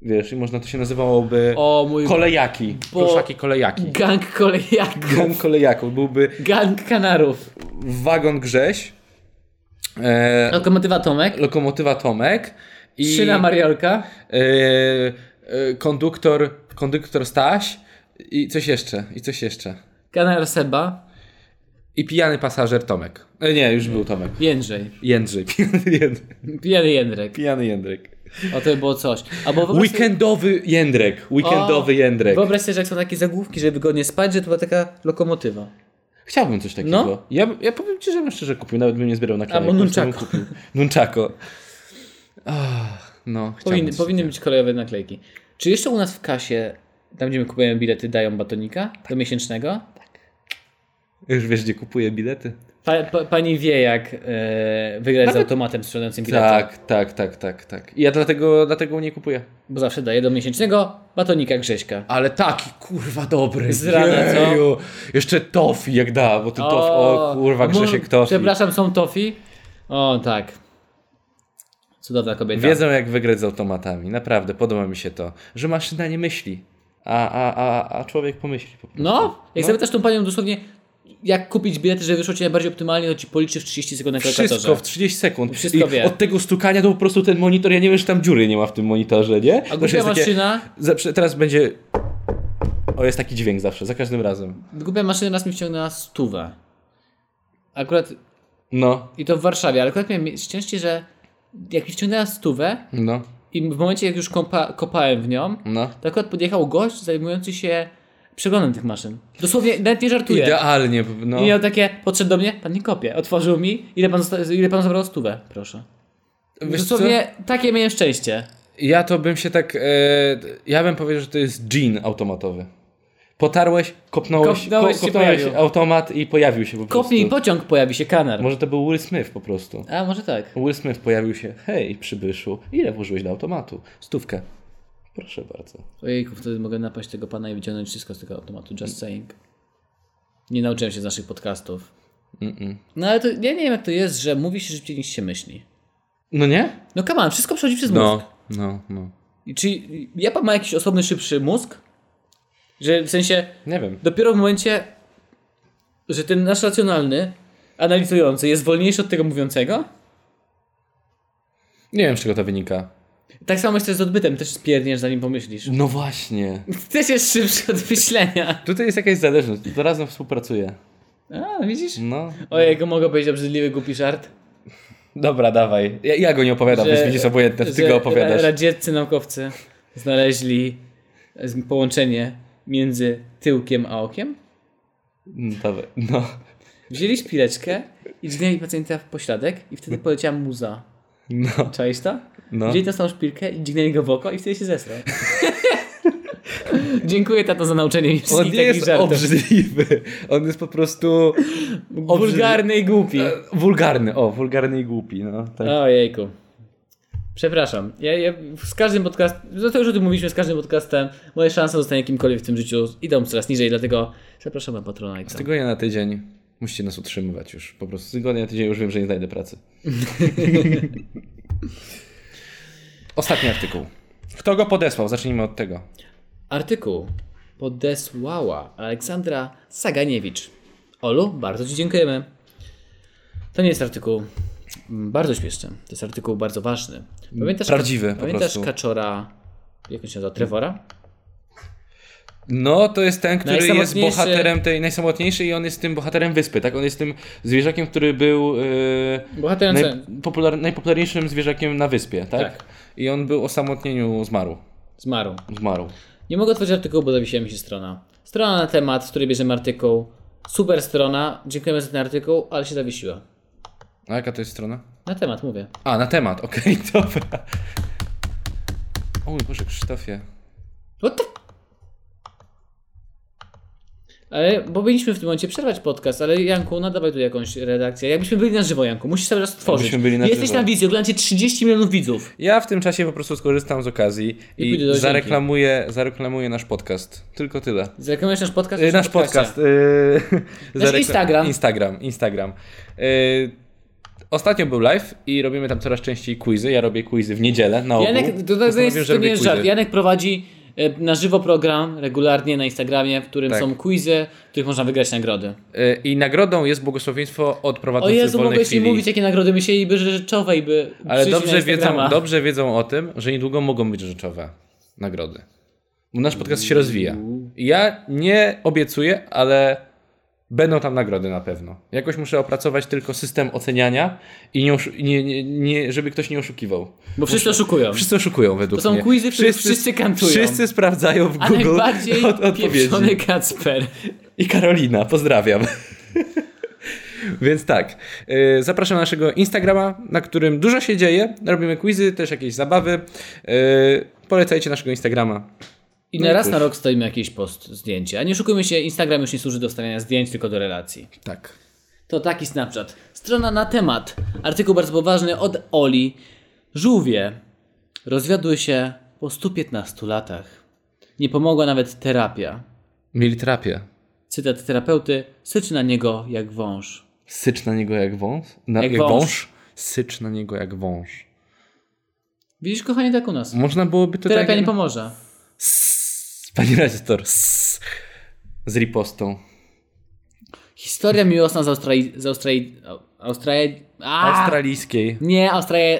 Wiesz, i można to się nazywałoby O mój kolejaki. Bo- Pluszaki kolejaki. gang kolejaków. Gang kolejaków. Byłby Gang kanarów. wagon Grześ, e, Lokomotywa Tomek. lokomotywa Tomek i Szyna Mariolka. e, e, konduktor, konduktor Staś i coś jeszcze, i coś jeszcze. Kanar Seba. I pijany pasażer Tomek. E, nie, już był Tomek. Jędrzej. Jędrzej. Pijany Jędrek. Pijany Jędrek. Pijany Jędrek. O to by było coś. Albo wyobraź sobie- Weekendowy Jędrek. Weekendowy O, Jędrek. Wyobraź sobie, że jak są takie zagłówki, żeby wygodnie spać, że to była taka lokomotywa. Chciałbym coś takiego. No. Ja, ja powiem ci, że bym szczerze kupił. Nawet bym nie zbierał na klejek. Albo po prostu bym nunchako. kupił. Nunchako. Ach, no, chciałbym Powinny, coś powinny takiego. być kolejowe naklejki. Czy jeszcze u nas w kasie, tam gdzie my kupujemy bilety, dają batonika do miesięcznego? Już wiesz, gdzie kupuję bilety? Pa, pa, pani wie, jak e, wygrać z automatem sprzedającym bilety, Tak, tak, tak, tak, tak. I ja dlatego, dlatego nie kupuję. bo zawsze daje do miesięcznego batonika Grześka. Ale taki, kurwa, dobry. Z rana, co? Jeju. Jeszcze tofi jak da, bo ty tofi. O, kurwa, bo- Grzesiek tofi. Przepraszam, są tofi? O, tak. Cudowna kobieta. Wiedzą jak wygrać z automatami. Naprawdę, podoba mi się to. Że maszyna nie myśli, a, a, a, a człowiek pomyśli po prostu. No, jak No. zapytasz tą panią dosłownie, jak kupić bilety, żeby wyszło ci najbardziej optymalnie, to ci policzy w 30 sekund na kalkulatorze. Wszystko w 30 sekund. Wszystko I wie. od tego stukania to po prostu ten monitor, ja nie wiem, że tam dziury nie ma w tym monitorze, nie? A Zawsze głupia jest takie- maszyna, Zawsze, teraz będzie... O, jest taki dźwięk zawsze, za każdym razem. głupia maszyna raz mi wciągnęła stówę. Akurat, No, i to w Warszawie, ale akurat miałem szczęście, że jak mi wciągnęła stówę no, i w momencie jak już kąpa, kopałem w nią, no. to akurat podjechał gość zajmujący się przeglądem tych maszyn. Dosłownie, nawet nie żartuję. Idealnie, no. I Ja... miał takie, podszedł do mnie, pan nie kopie. Otworzył mi, ile pan, zosta- ile pan zabrał stówę, proszę. Wiesz co? Dosłownie, takie miałem szczęście. Ja to bym się tak... E... Ja bym powiedział, że to jest dżin automatowy. Potarłeś, kopnąłeś, Kopnąłeś, ko- się kopnąłeś pojawił. automat i pojawił się po prostu. Kopnij pociąg, pojawi się kanar. Może to był Will Smith po prostu. A, może tak. Will Smith pojawił się. Hej, przybyszu, ile włożyłeś do automatu? Stówkę. Proszę bardzo. Ojejku, wtedy mogę napaść tego pana i wyciągnąć wszystko z tego automatu, just saying. Nie nauczyłem się z naszych podcastów. Mm-mm. No ale to, ja nie wiem jak to jest, że mówi się szybciej niż się myśli. No nie? No come on, wszystko przechodzi przez mózg. No, no, no. I Czy Japan ma jakiś osobny, szybszy mózg? Że w sensie, Nie wiem. dopiero w momencie, że ten nasz racjonalny, analizujący jest wolniejszy od tego mówiącego? Nie wiem, z czego to wynika. Tak samo jest też z odbytem, też spierniesz zanim pomyślisz. No właśnie. Też jest szybszy od myślenia. Tutaj jest jakaś zależność. To razem współpracuje. A, widzisz? No. Ojejku, mogę powiedzieć obrzydliwy, głupi żart? Dobra, dawaj. Ja, ja go nie opowiadam, więc widzisz obojętne, ty że go opowiadasz. ra- Radzieccy naukowcy znaleźli e, z- połączenie między tyłkiem a okiem. No, dawaj. No. Wzięli szpileczkę i dźgnęli pacjenta w pośladek i wtedy poleciała muza. No. Czaisz to? No. Wzięli tą samą szpilkę i dźgnęli go w oko i wtedy się zesrał. Dziękuję tato za nauczenie mi On wszystkich nie takich jest żartów. obrzydliwy. On jest po prostu Wulgarny i głupi. e, wulgarny. O, wulgarny i głupi. No, tak. Ojejku. Przepraszam. Ja, ja z każdym podcastem, no to już o tym mówiliśmy, z każdym podcastem moje szanse zostania kimkolwiek w tym życiu idą coraz niżej, dlatego zapraszam na Z Patronite. tygodnia na tydzień musicie nas utrzymywać już. Po prostu z tygodnia na tydzień już wiem, że nie znajdę pracy. Ostatni artykuł. Kto go podesłał? Zacznijmy od tego. Artykuł podesłała Aleksandra Saganiewicz. Olu, bardzo Ci dziękujemy. To nie jest artykuł mm, bardzo śmieszny. To jest artykuł bardzo ważny. Pamiętasz, Prawdziwy po pamiętasz prostu. kaczora, jak on się nazywa, Trevora? No, to jest ten, który jest Najsamotniejszy- bohaterem tej najsamotniejszej i on jest tym bohaterem wyspy, tak? On jest tym zwierzakiem, który był yy, Bohaterem naj, sen- popular, najpopularniejszym zwierzakiem na wyspie, tak? Tak. I on był o samotnieniu, zmarł. zmarł. Zmarł. Nie mogę otworzyć artykułu, bo zawiesiła mi się strona. Strona na temat, z której bierzemy artykuł. Super strona, dziękujemy za ten artykuł, ale się zawiesiła. A jaka to jest strona? Na temat mówię. A, na temat, okej, dobra. O mój Boże, Krzysztofie. What the... Ale, bo powinniśmy w tym momencie przerwać podcast, ale Janku, nadawaj tu jakąś redakcję. Jakbyśmy byli na żywo, Janku, musisz cały czas tworzyć. Jakbyśmy byli na Jesteś żywo. na wizji, oglądacie 30 milionów widzów. Ja w tym czasie po prostu skorzystam z okazji I pójdę do i łazienki. zareklamuję, zareklamuję nasz podcast. Tylko tyle. Zreklamujesz nasz podcast? E, czy Nasz podcasty? podcast. Yy, zarekla- Instagram. Instagram, Instagram. E, Ostatnio był live i robimy tam coraz częściej quizy. Ja robię quizy w niedzielę na ogół. Janek, to, to, to, Postanowiłem, jest, że to robię nie jest quizy. żart. Janek prowadzi e, na żywo program regularnie na Instagramie, w którym Tak. są quizy, w których można wygrać nagrody. E, I nagrodą jest błogosławieństwo od O prowadzących Jezu, wolnej mogłeś chwili. mi mówić, jakie nagrody myśleliby że rzeczowej by Ale przyszli na dobrze wiedzą, Instagrama. dobrze wiedzą o tym, że niedługo mogą być rzeczowe nagrody. Bo Nasz podcast się rozwija. I Ja nie obiecuję, ale będą tam nagrody na pewno. Jakoś muszę opracować tylko system oceniania i nie, oszu- nie, nie, nie żeby ktoś nie oszukiwał. Bo wszyscy oszukują. Wszyscy oszukują według To są mnie. quizy, w których wszyscy kantują. Wszyscy sprawdzają w A Google najbardziej od, odpowiedzi. pieprzony Kacper. I Karolina, pozdrawiam. Więc tak, y, zapraszam na naszego Instagrama, na którym dużo się dzieje. Robimy quizy, też jakieś zabawy. Y, Polecajcie naszego Instagrama. I No na raz cóż. na rok stoimy jakiś post, zdjęcie. A nie oszukujmy się, Instagram już nie służy do stawiania zdjęć, tylko do relacji. Tak. To taki Snapchat. Strona na temat. Artykuł bardzo poważny od Oli. Żółwie rozwiadły się po 115 latach. Nie pomogła nawet terapia. Mieli terapię. Cytat terapeuty, syczy na niego jak wąż. Sycz na niego jak wąż? Na, Jak wąż. Sycz na niego jak wąż. Widzisz, kochanie, tak u nas. Można byłoby No, to Terapia tak... nie pomoże. S- Pani redaktor, s- z ripostą. Historia miłosna z Australii... Z Australii... Australii... Australijskiej. Nie, Australia...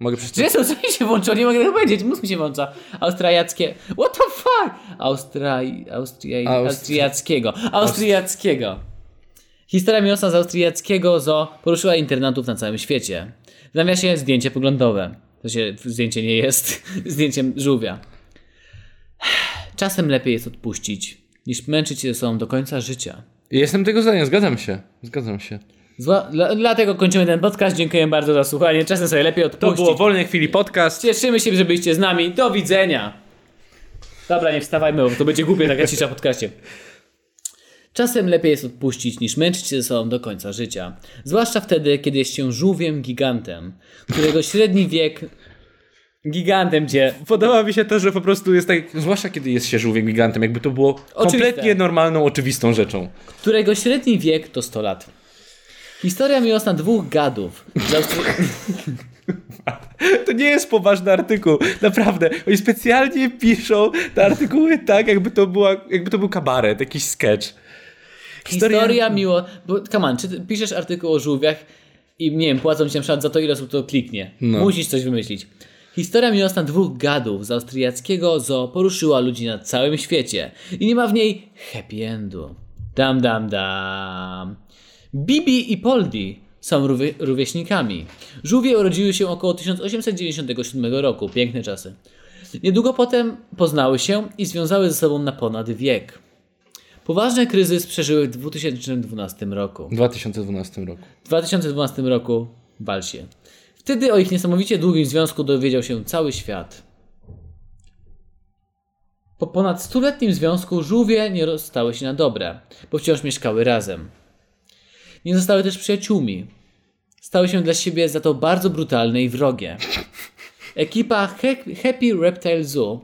Mogę Czy przeczytać? jest Australia się włączyło? Nie mogę tego powiedzieć, mózg mi się włącza. Austriackie... What the fuck? Austraj... Austria... Austri- Austriackiego. Austriackiego. Historia miłosna z austriackiego zoo poruszyła internatów na całym świecie. W nawiasie zdjęcie poglądowe. To się zdjęcie nie jest zdjęciem żółwia. Czasem lepiej jest odpuścić, niż męczyć się ze sobą do końca życia. Jestem tego zdania, zgadzam się. Zgadzam się. Zła, dla, dlatego kończymy ten podcast. Dziękuję bardzo za słuchanie. Czasem sobie lepiej To odpuścić. było Wolnej Chwili Podcast. Cieszymy się, że byliście z nami. Do widzenia. Dobra, nie wstawajmy, bo to będzie głupie taka cisza w podcaście. Czasem lepiej jest odpuścić, niż męczyć się ze sobą do końca życia. Zwłaszcza wtedy, kiedy jest się żółwiem gigantem, którego średni wiek... Gigantem cię... Podoba mi się to, że po prostu jest tak, zwłaszcza kiedy jest się żółwiem gigantem, jakby to było kompletnie normalną, oczywistą rzeczą. którego średni wiek to 100 lat. Historia miłosna dwóch gadów. z Austra- To nie jest poważny artykuł, naprawdę. Oni specjalnie piszą te artykuły tak, jakby to, była, jakby to był kabaret, jakiś sketch. Historia, miło... Bo, come on, czy ty piszesz artykuł o żółwiach i nie wiem, płacą ci na przykład za to, ile osób to kliknie. No. Musisz coś wymyślić. Historia miłosna dwóch gadów z austriackiego zoo poruszyła ludzi na całym świecie i nie ma w niej happy endu. Dam, dam, dam. Bibi i Poldi są rówie, rówieśnikami. Żółwie urodziły się około 1897 roku. Piękne czasy. Niedługo potem poznały się i związały ze sobą na ponad wiek. Poważny kryzys przeżyły w 2012 roku. W 2012 roku. W 2012 roku w Balsie. Wtedy o ich niesamowicie długim związku dowiedział się cały świat. Po ponad stuletnim związku żółwie nie rozstały się na dobre, bo wciąż mieszkały razem. Nie zostały też przyjaciółmi. Stały się dla siebie za to bardzo brutalne i wrogie. Ekipa He- Happy Reptile Zoo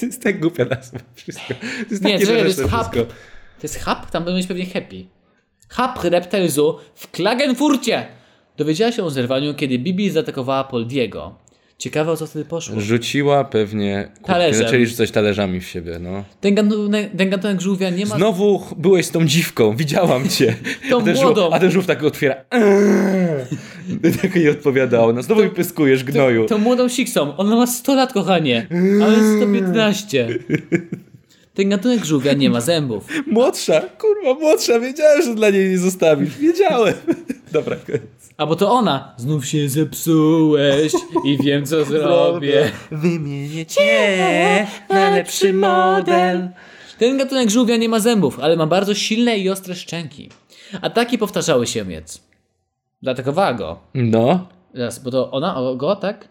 To jest tak głupia nazwa. Wszystko. To jest Nie, takie czekaj, to jest wyraźne hub. wszystko. To jest hub? Tam będą mieć pewnie happy. Hub Reptile Zoo w Klagenfurcie! Dowiedziała się o zerwaniu, kiedy Bibi zaatakowała Poldiego. Ciekawe o co wtedy poszło. Rzuciła pewnie kurtkę, Talerzem. zaczęli rzucać talerzami w siebie, no. Ten gatunek, ten gatunek żółwia nie ma... Znowu ch- byłeś z tą dziwką, widziałam cię. Tą A ten żół- młodą. A ten żółw tak otwiera. Eee. tak jej odpowiadało. No znowu mi pyskujesz, gnoju. Tą młodą siksą. Ona ma 100 lat, kochanie. A on jest 115. Ten gatunek żółwia nie ma zębów. Młodsza, kurwa, młodsza, wiedziałem, że dla niej nie zostawisz. Wiedziałem. Dobra, Albo to ona. Znów się zepsułeś i wiem co zrobię. Wymienię cię na lepszy model. Ten gatunek żółwia nie ma zębów, ale ma bardzo silne i ostre szczęki. Ataki powtarzały się więc. Zaatakowała go. No. Raz, bo to ona o, go, tak?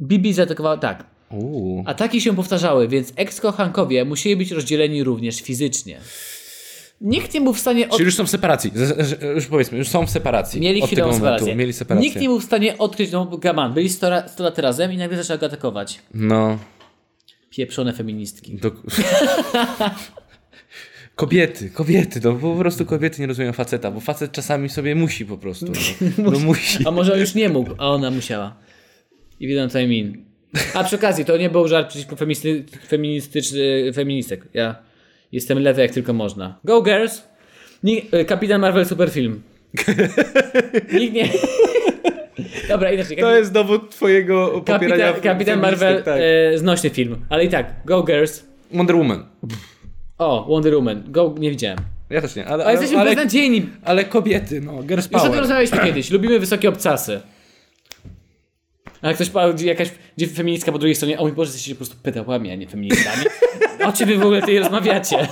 Bibi zaatakowała, tak. Uuu. Ataki się powtarzały, więc ekskochankowie musieli być rozdzieleni również fizycznie. Nikt nie był w stanie od... Czyli już są w separacji. Z, z, już powiedzmy, już są w separacji. Mieli Od chwilową tego momentu. separację. Mieli separację. Nikt nie był w stanie odkryć, no bo gaman, byli 100 ra- 100 lat razem i nagle zaczęła go atakować. No. Pieprzone feministki. Do... kobiety, kobiety, no po prostu kobiety nie rozumieją faceta, bo facet czasami sobie musi po prostu. No, no musi. A może on już nie mógł, a ona musiała. I wiadomo co I mean. A przy okazji, to nie był żart przeciwko feministy, feministyczny, feministek. Ja jestem lewy jak tylko można. Go girls! Ni- y, Kapitan Marvel Superfilm. Nikt nie... Dobra, inaczej. To jest dowód twojego popierania Kapitan, Kapitan Marvel, Tak. e, znośny film. Ale i tak, Go Girls. Wonder Woman. O, Wonder Woman. Go, nie widziałem. Ja też nie, ale, Ale ale, jesteśmy ale, beznadziejni. ale kobiety, no, girls Już o tym power. rozmawialiśmy kiedyś. Lubimy wysokie obcasy. A jak ktoś pa- jakaś gdzie feministka po drugiej stronie, o mój Boże, jesteście po prostu pedałami, a nie feministami. O czym wy w ogóle tutaj rozmawiacie?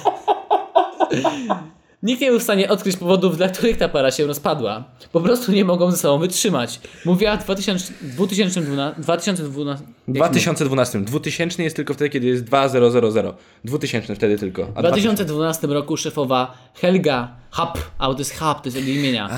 Nikt nie był w stanie odkryć powodów, dla których ta para się rozpadła. Po prostu nie mogą ze sobą wytrzymać. Mówiła w 2000, 2012... 2012 W 2012. 2000 jest tylko wtedy, kiedy jest 2000. 2000 wtedy tylko. w A 2012 roku szefowa Helga Hap, a to jest Hap, to jest od jej imienia.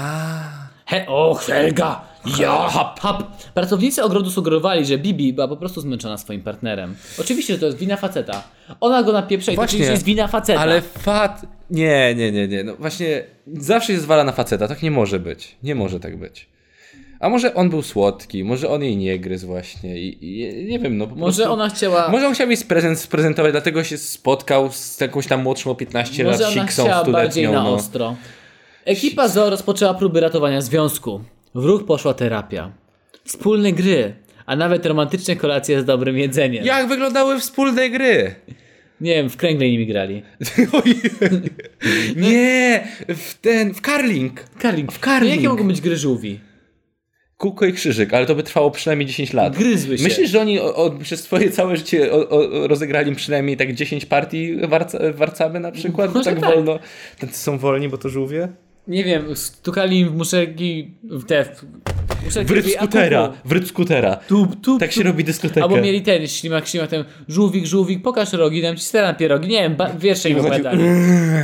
He, o, Helga! Ja, Hap, Hap! Pracownicy ogrodu sugerowali, że Bibi była po prostu zmęczona swoim partnerem. Oczywiście, że to jest wina faceta. Ona go napieprza i to Właśnie. oczywiście jest wina faceta. Ale fat... Nie, nie, nie, nie. No właśnie zawsze się zwala na faceta. Tak nie może być. Nie może tak być. A może on był słodki, może on jej nie gryzł właśnie i, i nie wiem, no po Może prostu... ona chciała... Może on chciał jej prezent sprezentować, dlatego się spotkał z jakąś tam młodszą o 15 Może lat ona siksą chciała bardziej stuletnią. na No. ostro. Ekipa Zoo rozpoczęła próby ratowania związku. W ruch poszła terapia. Wspólne gry, a nawet romantyczne kolacje z dobrym jedzeniem. Jak wyglądały wspólne gry? Nie wiem, w kręgle nimi grali. Ojej. nie, w ten, w curling. Karling. W curling. Jakie mogą być gry żółwi? kółko i krzyżyk, ale to by trwało przynajmniej 10 lat. Gryzły się. Myślisz, że oni o, o, przez swoje całe życie o, o, rozegrali przynajmniej tak 10 partii warca, warcaby na przykład? Może tak, tak. wolno. Tacy są wolni, bo to żółwie? Nie wiem, stukali im w muszelki w te... W, muszelki Wryt drzwi, a tu skutera, tu, wryt skutera. Tu, tu, Tak się robi dyskotekę. Albo mieli ten ślimak, ślimak, ten żółwik, żółwik, pokaż rogi, dam ci stera na pierogi. Nie wiem, ba- wiersze im znaczy- opowiadali.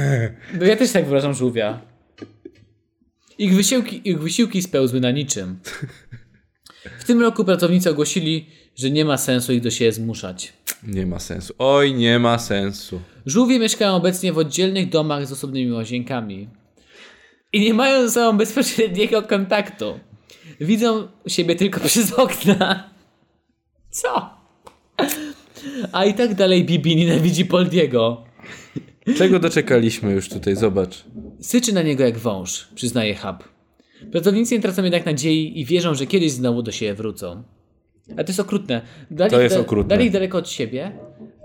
No ja też tak wyrażam żółwia. Ich wysiłki, ich wysiłki spełzły na niczym. W tym roku pracownicy ogłosili, że nie ma sensu ich do siebie zmuszać. Nie ma sensu. Oj, nie ma sensu. Żółwie mieszkają obecnie w oddzielnych domach z osobnymi łazienkami. I nie mają ze sobą bezpośredniego kontaktu. Widzą siebie tylko przez okna. Co? A i tak dalej Bibi nienawidzi Poldiego. Czego doczekaliśmy już tutaj, zobacz. Syczy na niego jak wąż, przyznaje Hub. Pracownicy nie tracą jednak nadziei i wierzą, że kiedyś znowu do siebie wrócą. A to jest okrutne. Dali, To jest okrutne. Dali ich daleko od siebie,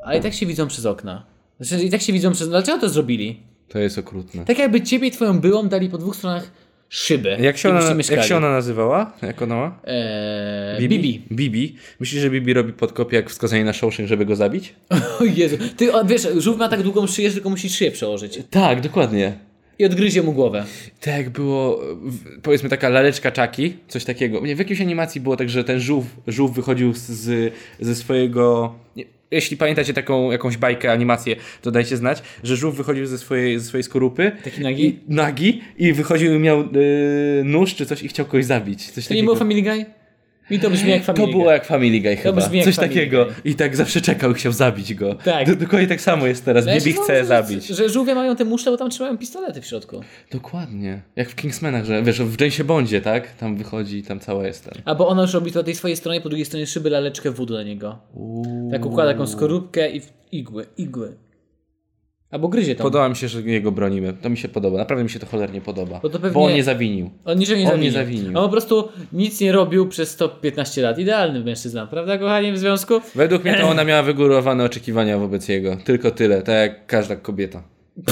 ale i tak się widzą przez okna. Znaczy, i tak się widzą przez... Dlaczego to zrobili? To jest okrutne. Tak jakby ciebie i twoją byłą dali po dwóch stronach szyby. Jak się, I ona, byście jak mieszkali. się ona nazywała? Jak ona ma? Eee, Bibi. Bibi. Myślisz, że Bibi robi podkopie jak wskazanie na Shawshank, żeby go zabić? O Jezu. Ty o, wiesz, żółw ma tak długą szyję, że tylko musi szyję przełożyć. Tak, dokładnie. I odgryzie mu głowę. Tak jak było, w- powiedzmy taka laleczka czaki, coś takiego. Nie, w jakiejś animacji było tak, że ten żółw, żółw wychodził z- z, ze swojego... Nie, jeśli pamiętacie taką jakąś bajkę, animację, to dajcie znać, że żółw wychodził ze swojej, ze swojej skorupy. Taki nagi? I, nagi i wychodził i miał y, nóż czy coś i chciał kogoś zabić. Coś To nie było Family Guy? Mi to brzmi jak Family To było jak Family Guy chyba. brzmi jak Coś Family takiego. Guy. I tak zawsze czekał i chciał zabić go. Tak. Znaczy, no, Do- Dokładnie tak samo jest teraz. Guy. Bibi chce że, zabić. Że żółwie mają te muszle, bo tam trzymają pistolety w środku. Dokładnie. Jak w Kingsmanach, że wiesz, w Jamesie Bondzie, tak? Tam wychodzi i tam cała jest ten. A bo ona już robi to na tej swojej stronie, po drugiej stronie szyby laleczkę wódu na niego. Tak układa taką skorupkę i w igły, igły. Albo gryzie tam. Podoba mi się, że jego bronimy. To mi się podoba. Naprawdę mi się to cholernie podoba. Bo to pewnie- on nie zawinił. On niczego nie On zawinił. nie zawinił. On po prostu nic nie robił przez 115 lat. Idealny mężczyzna, prawda kochani w związku? Według mnie to ona miała wygórowane oczekiwania wobec jego. Tylko tyle, tak jak każda kobieta.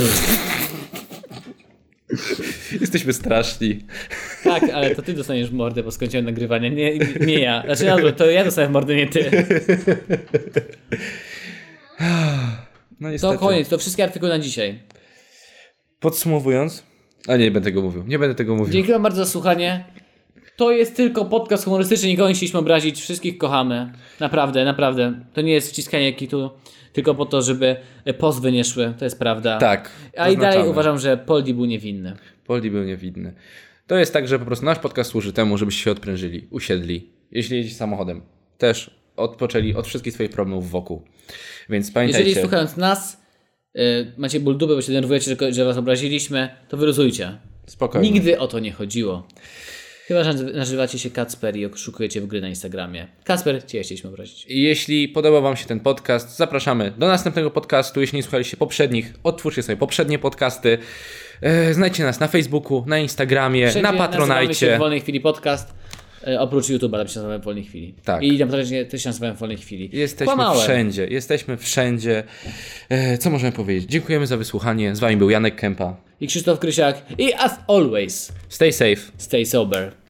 Jesteśmy straszni. Tak, ale to ty dostaniesz w mordę, bo skończyłem nagrywanie, nie, nie ja. Znaczy na odwrót, to ja dostanę w mordę, nie ty. No To niestety. koniec, to wszystkie artykuły na dzisiaj. Podsumowując. A nie, nie będę tego mówił. Nie będę tego mówił. Dziękuję wam bardzo za słuchanie. To jest tylko podcast humorystyczny, nikogo nie chcieliśmy obrazić, wszystkich kochamy. Naprawdę, naprawdę. To nie jest wciskanie kitu, tylko po to, żeby pozwy nie szły, to jest prawda. Tak. A i dalej zaznaczamy. uważam, że Poldi był niewinny. Poldi był niewidny. To jest tak, że po prostu nasz podcast służy temu, żebyście się odprężyli, usiedli. Jeśli jedziecie samochodem, też odpoczęli od wszystkich swoich problemów wokół. Więc pamiętajcie. Jeżeli słuchając nas, y, macie ból dupy, bo się denerwujecie, że, ko- że was obraziliśmy, to wyluzujcie. Spokojnie. Nigdy o to nie chodziło. Chyba, że nazywacie się Kacper i oszukujecie w gry na Instagramie. Kacper, cię chcieliśmy obrazić. I Jeśli podobał Wam się ten podcast, zapraszamy do następnego podcastu. Jeśli nie słuchaliście poprzednich, odtwórzcie sobie poprzednie podcasty. E, Znajdźcie nas na Facebooku, na Instagramie, Wszędzie na nazywamy się Patronajcie. w Wolnej Chwili Podcast. e, Oprócz YouTube'a tam się nazywamy w Wolnej Chwili. Tak. I na Patronajcie też się nazywamy w Wolnej Chwili. Jesteśmy Kłamałem. wszędzie, jesteśmy wszędzie. E, Co możemy powiedzieć? Dziękujemy za wysłuchanie. Z Wami był Janek Kępa. I Krzysztof Krysiak. I as always, Stay safe. stay sober.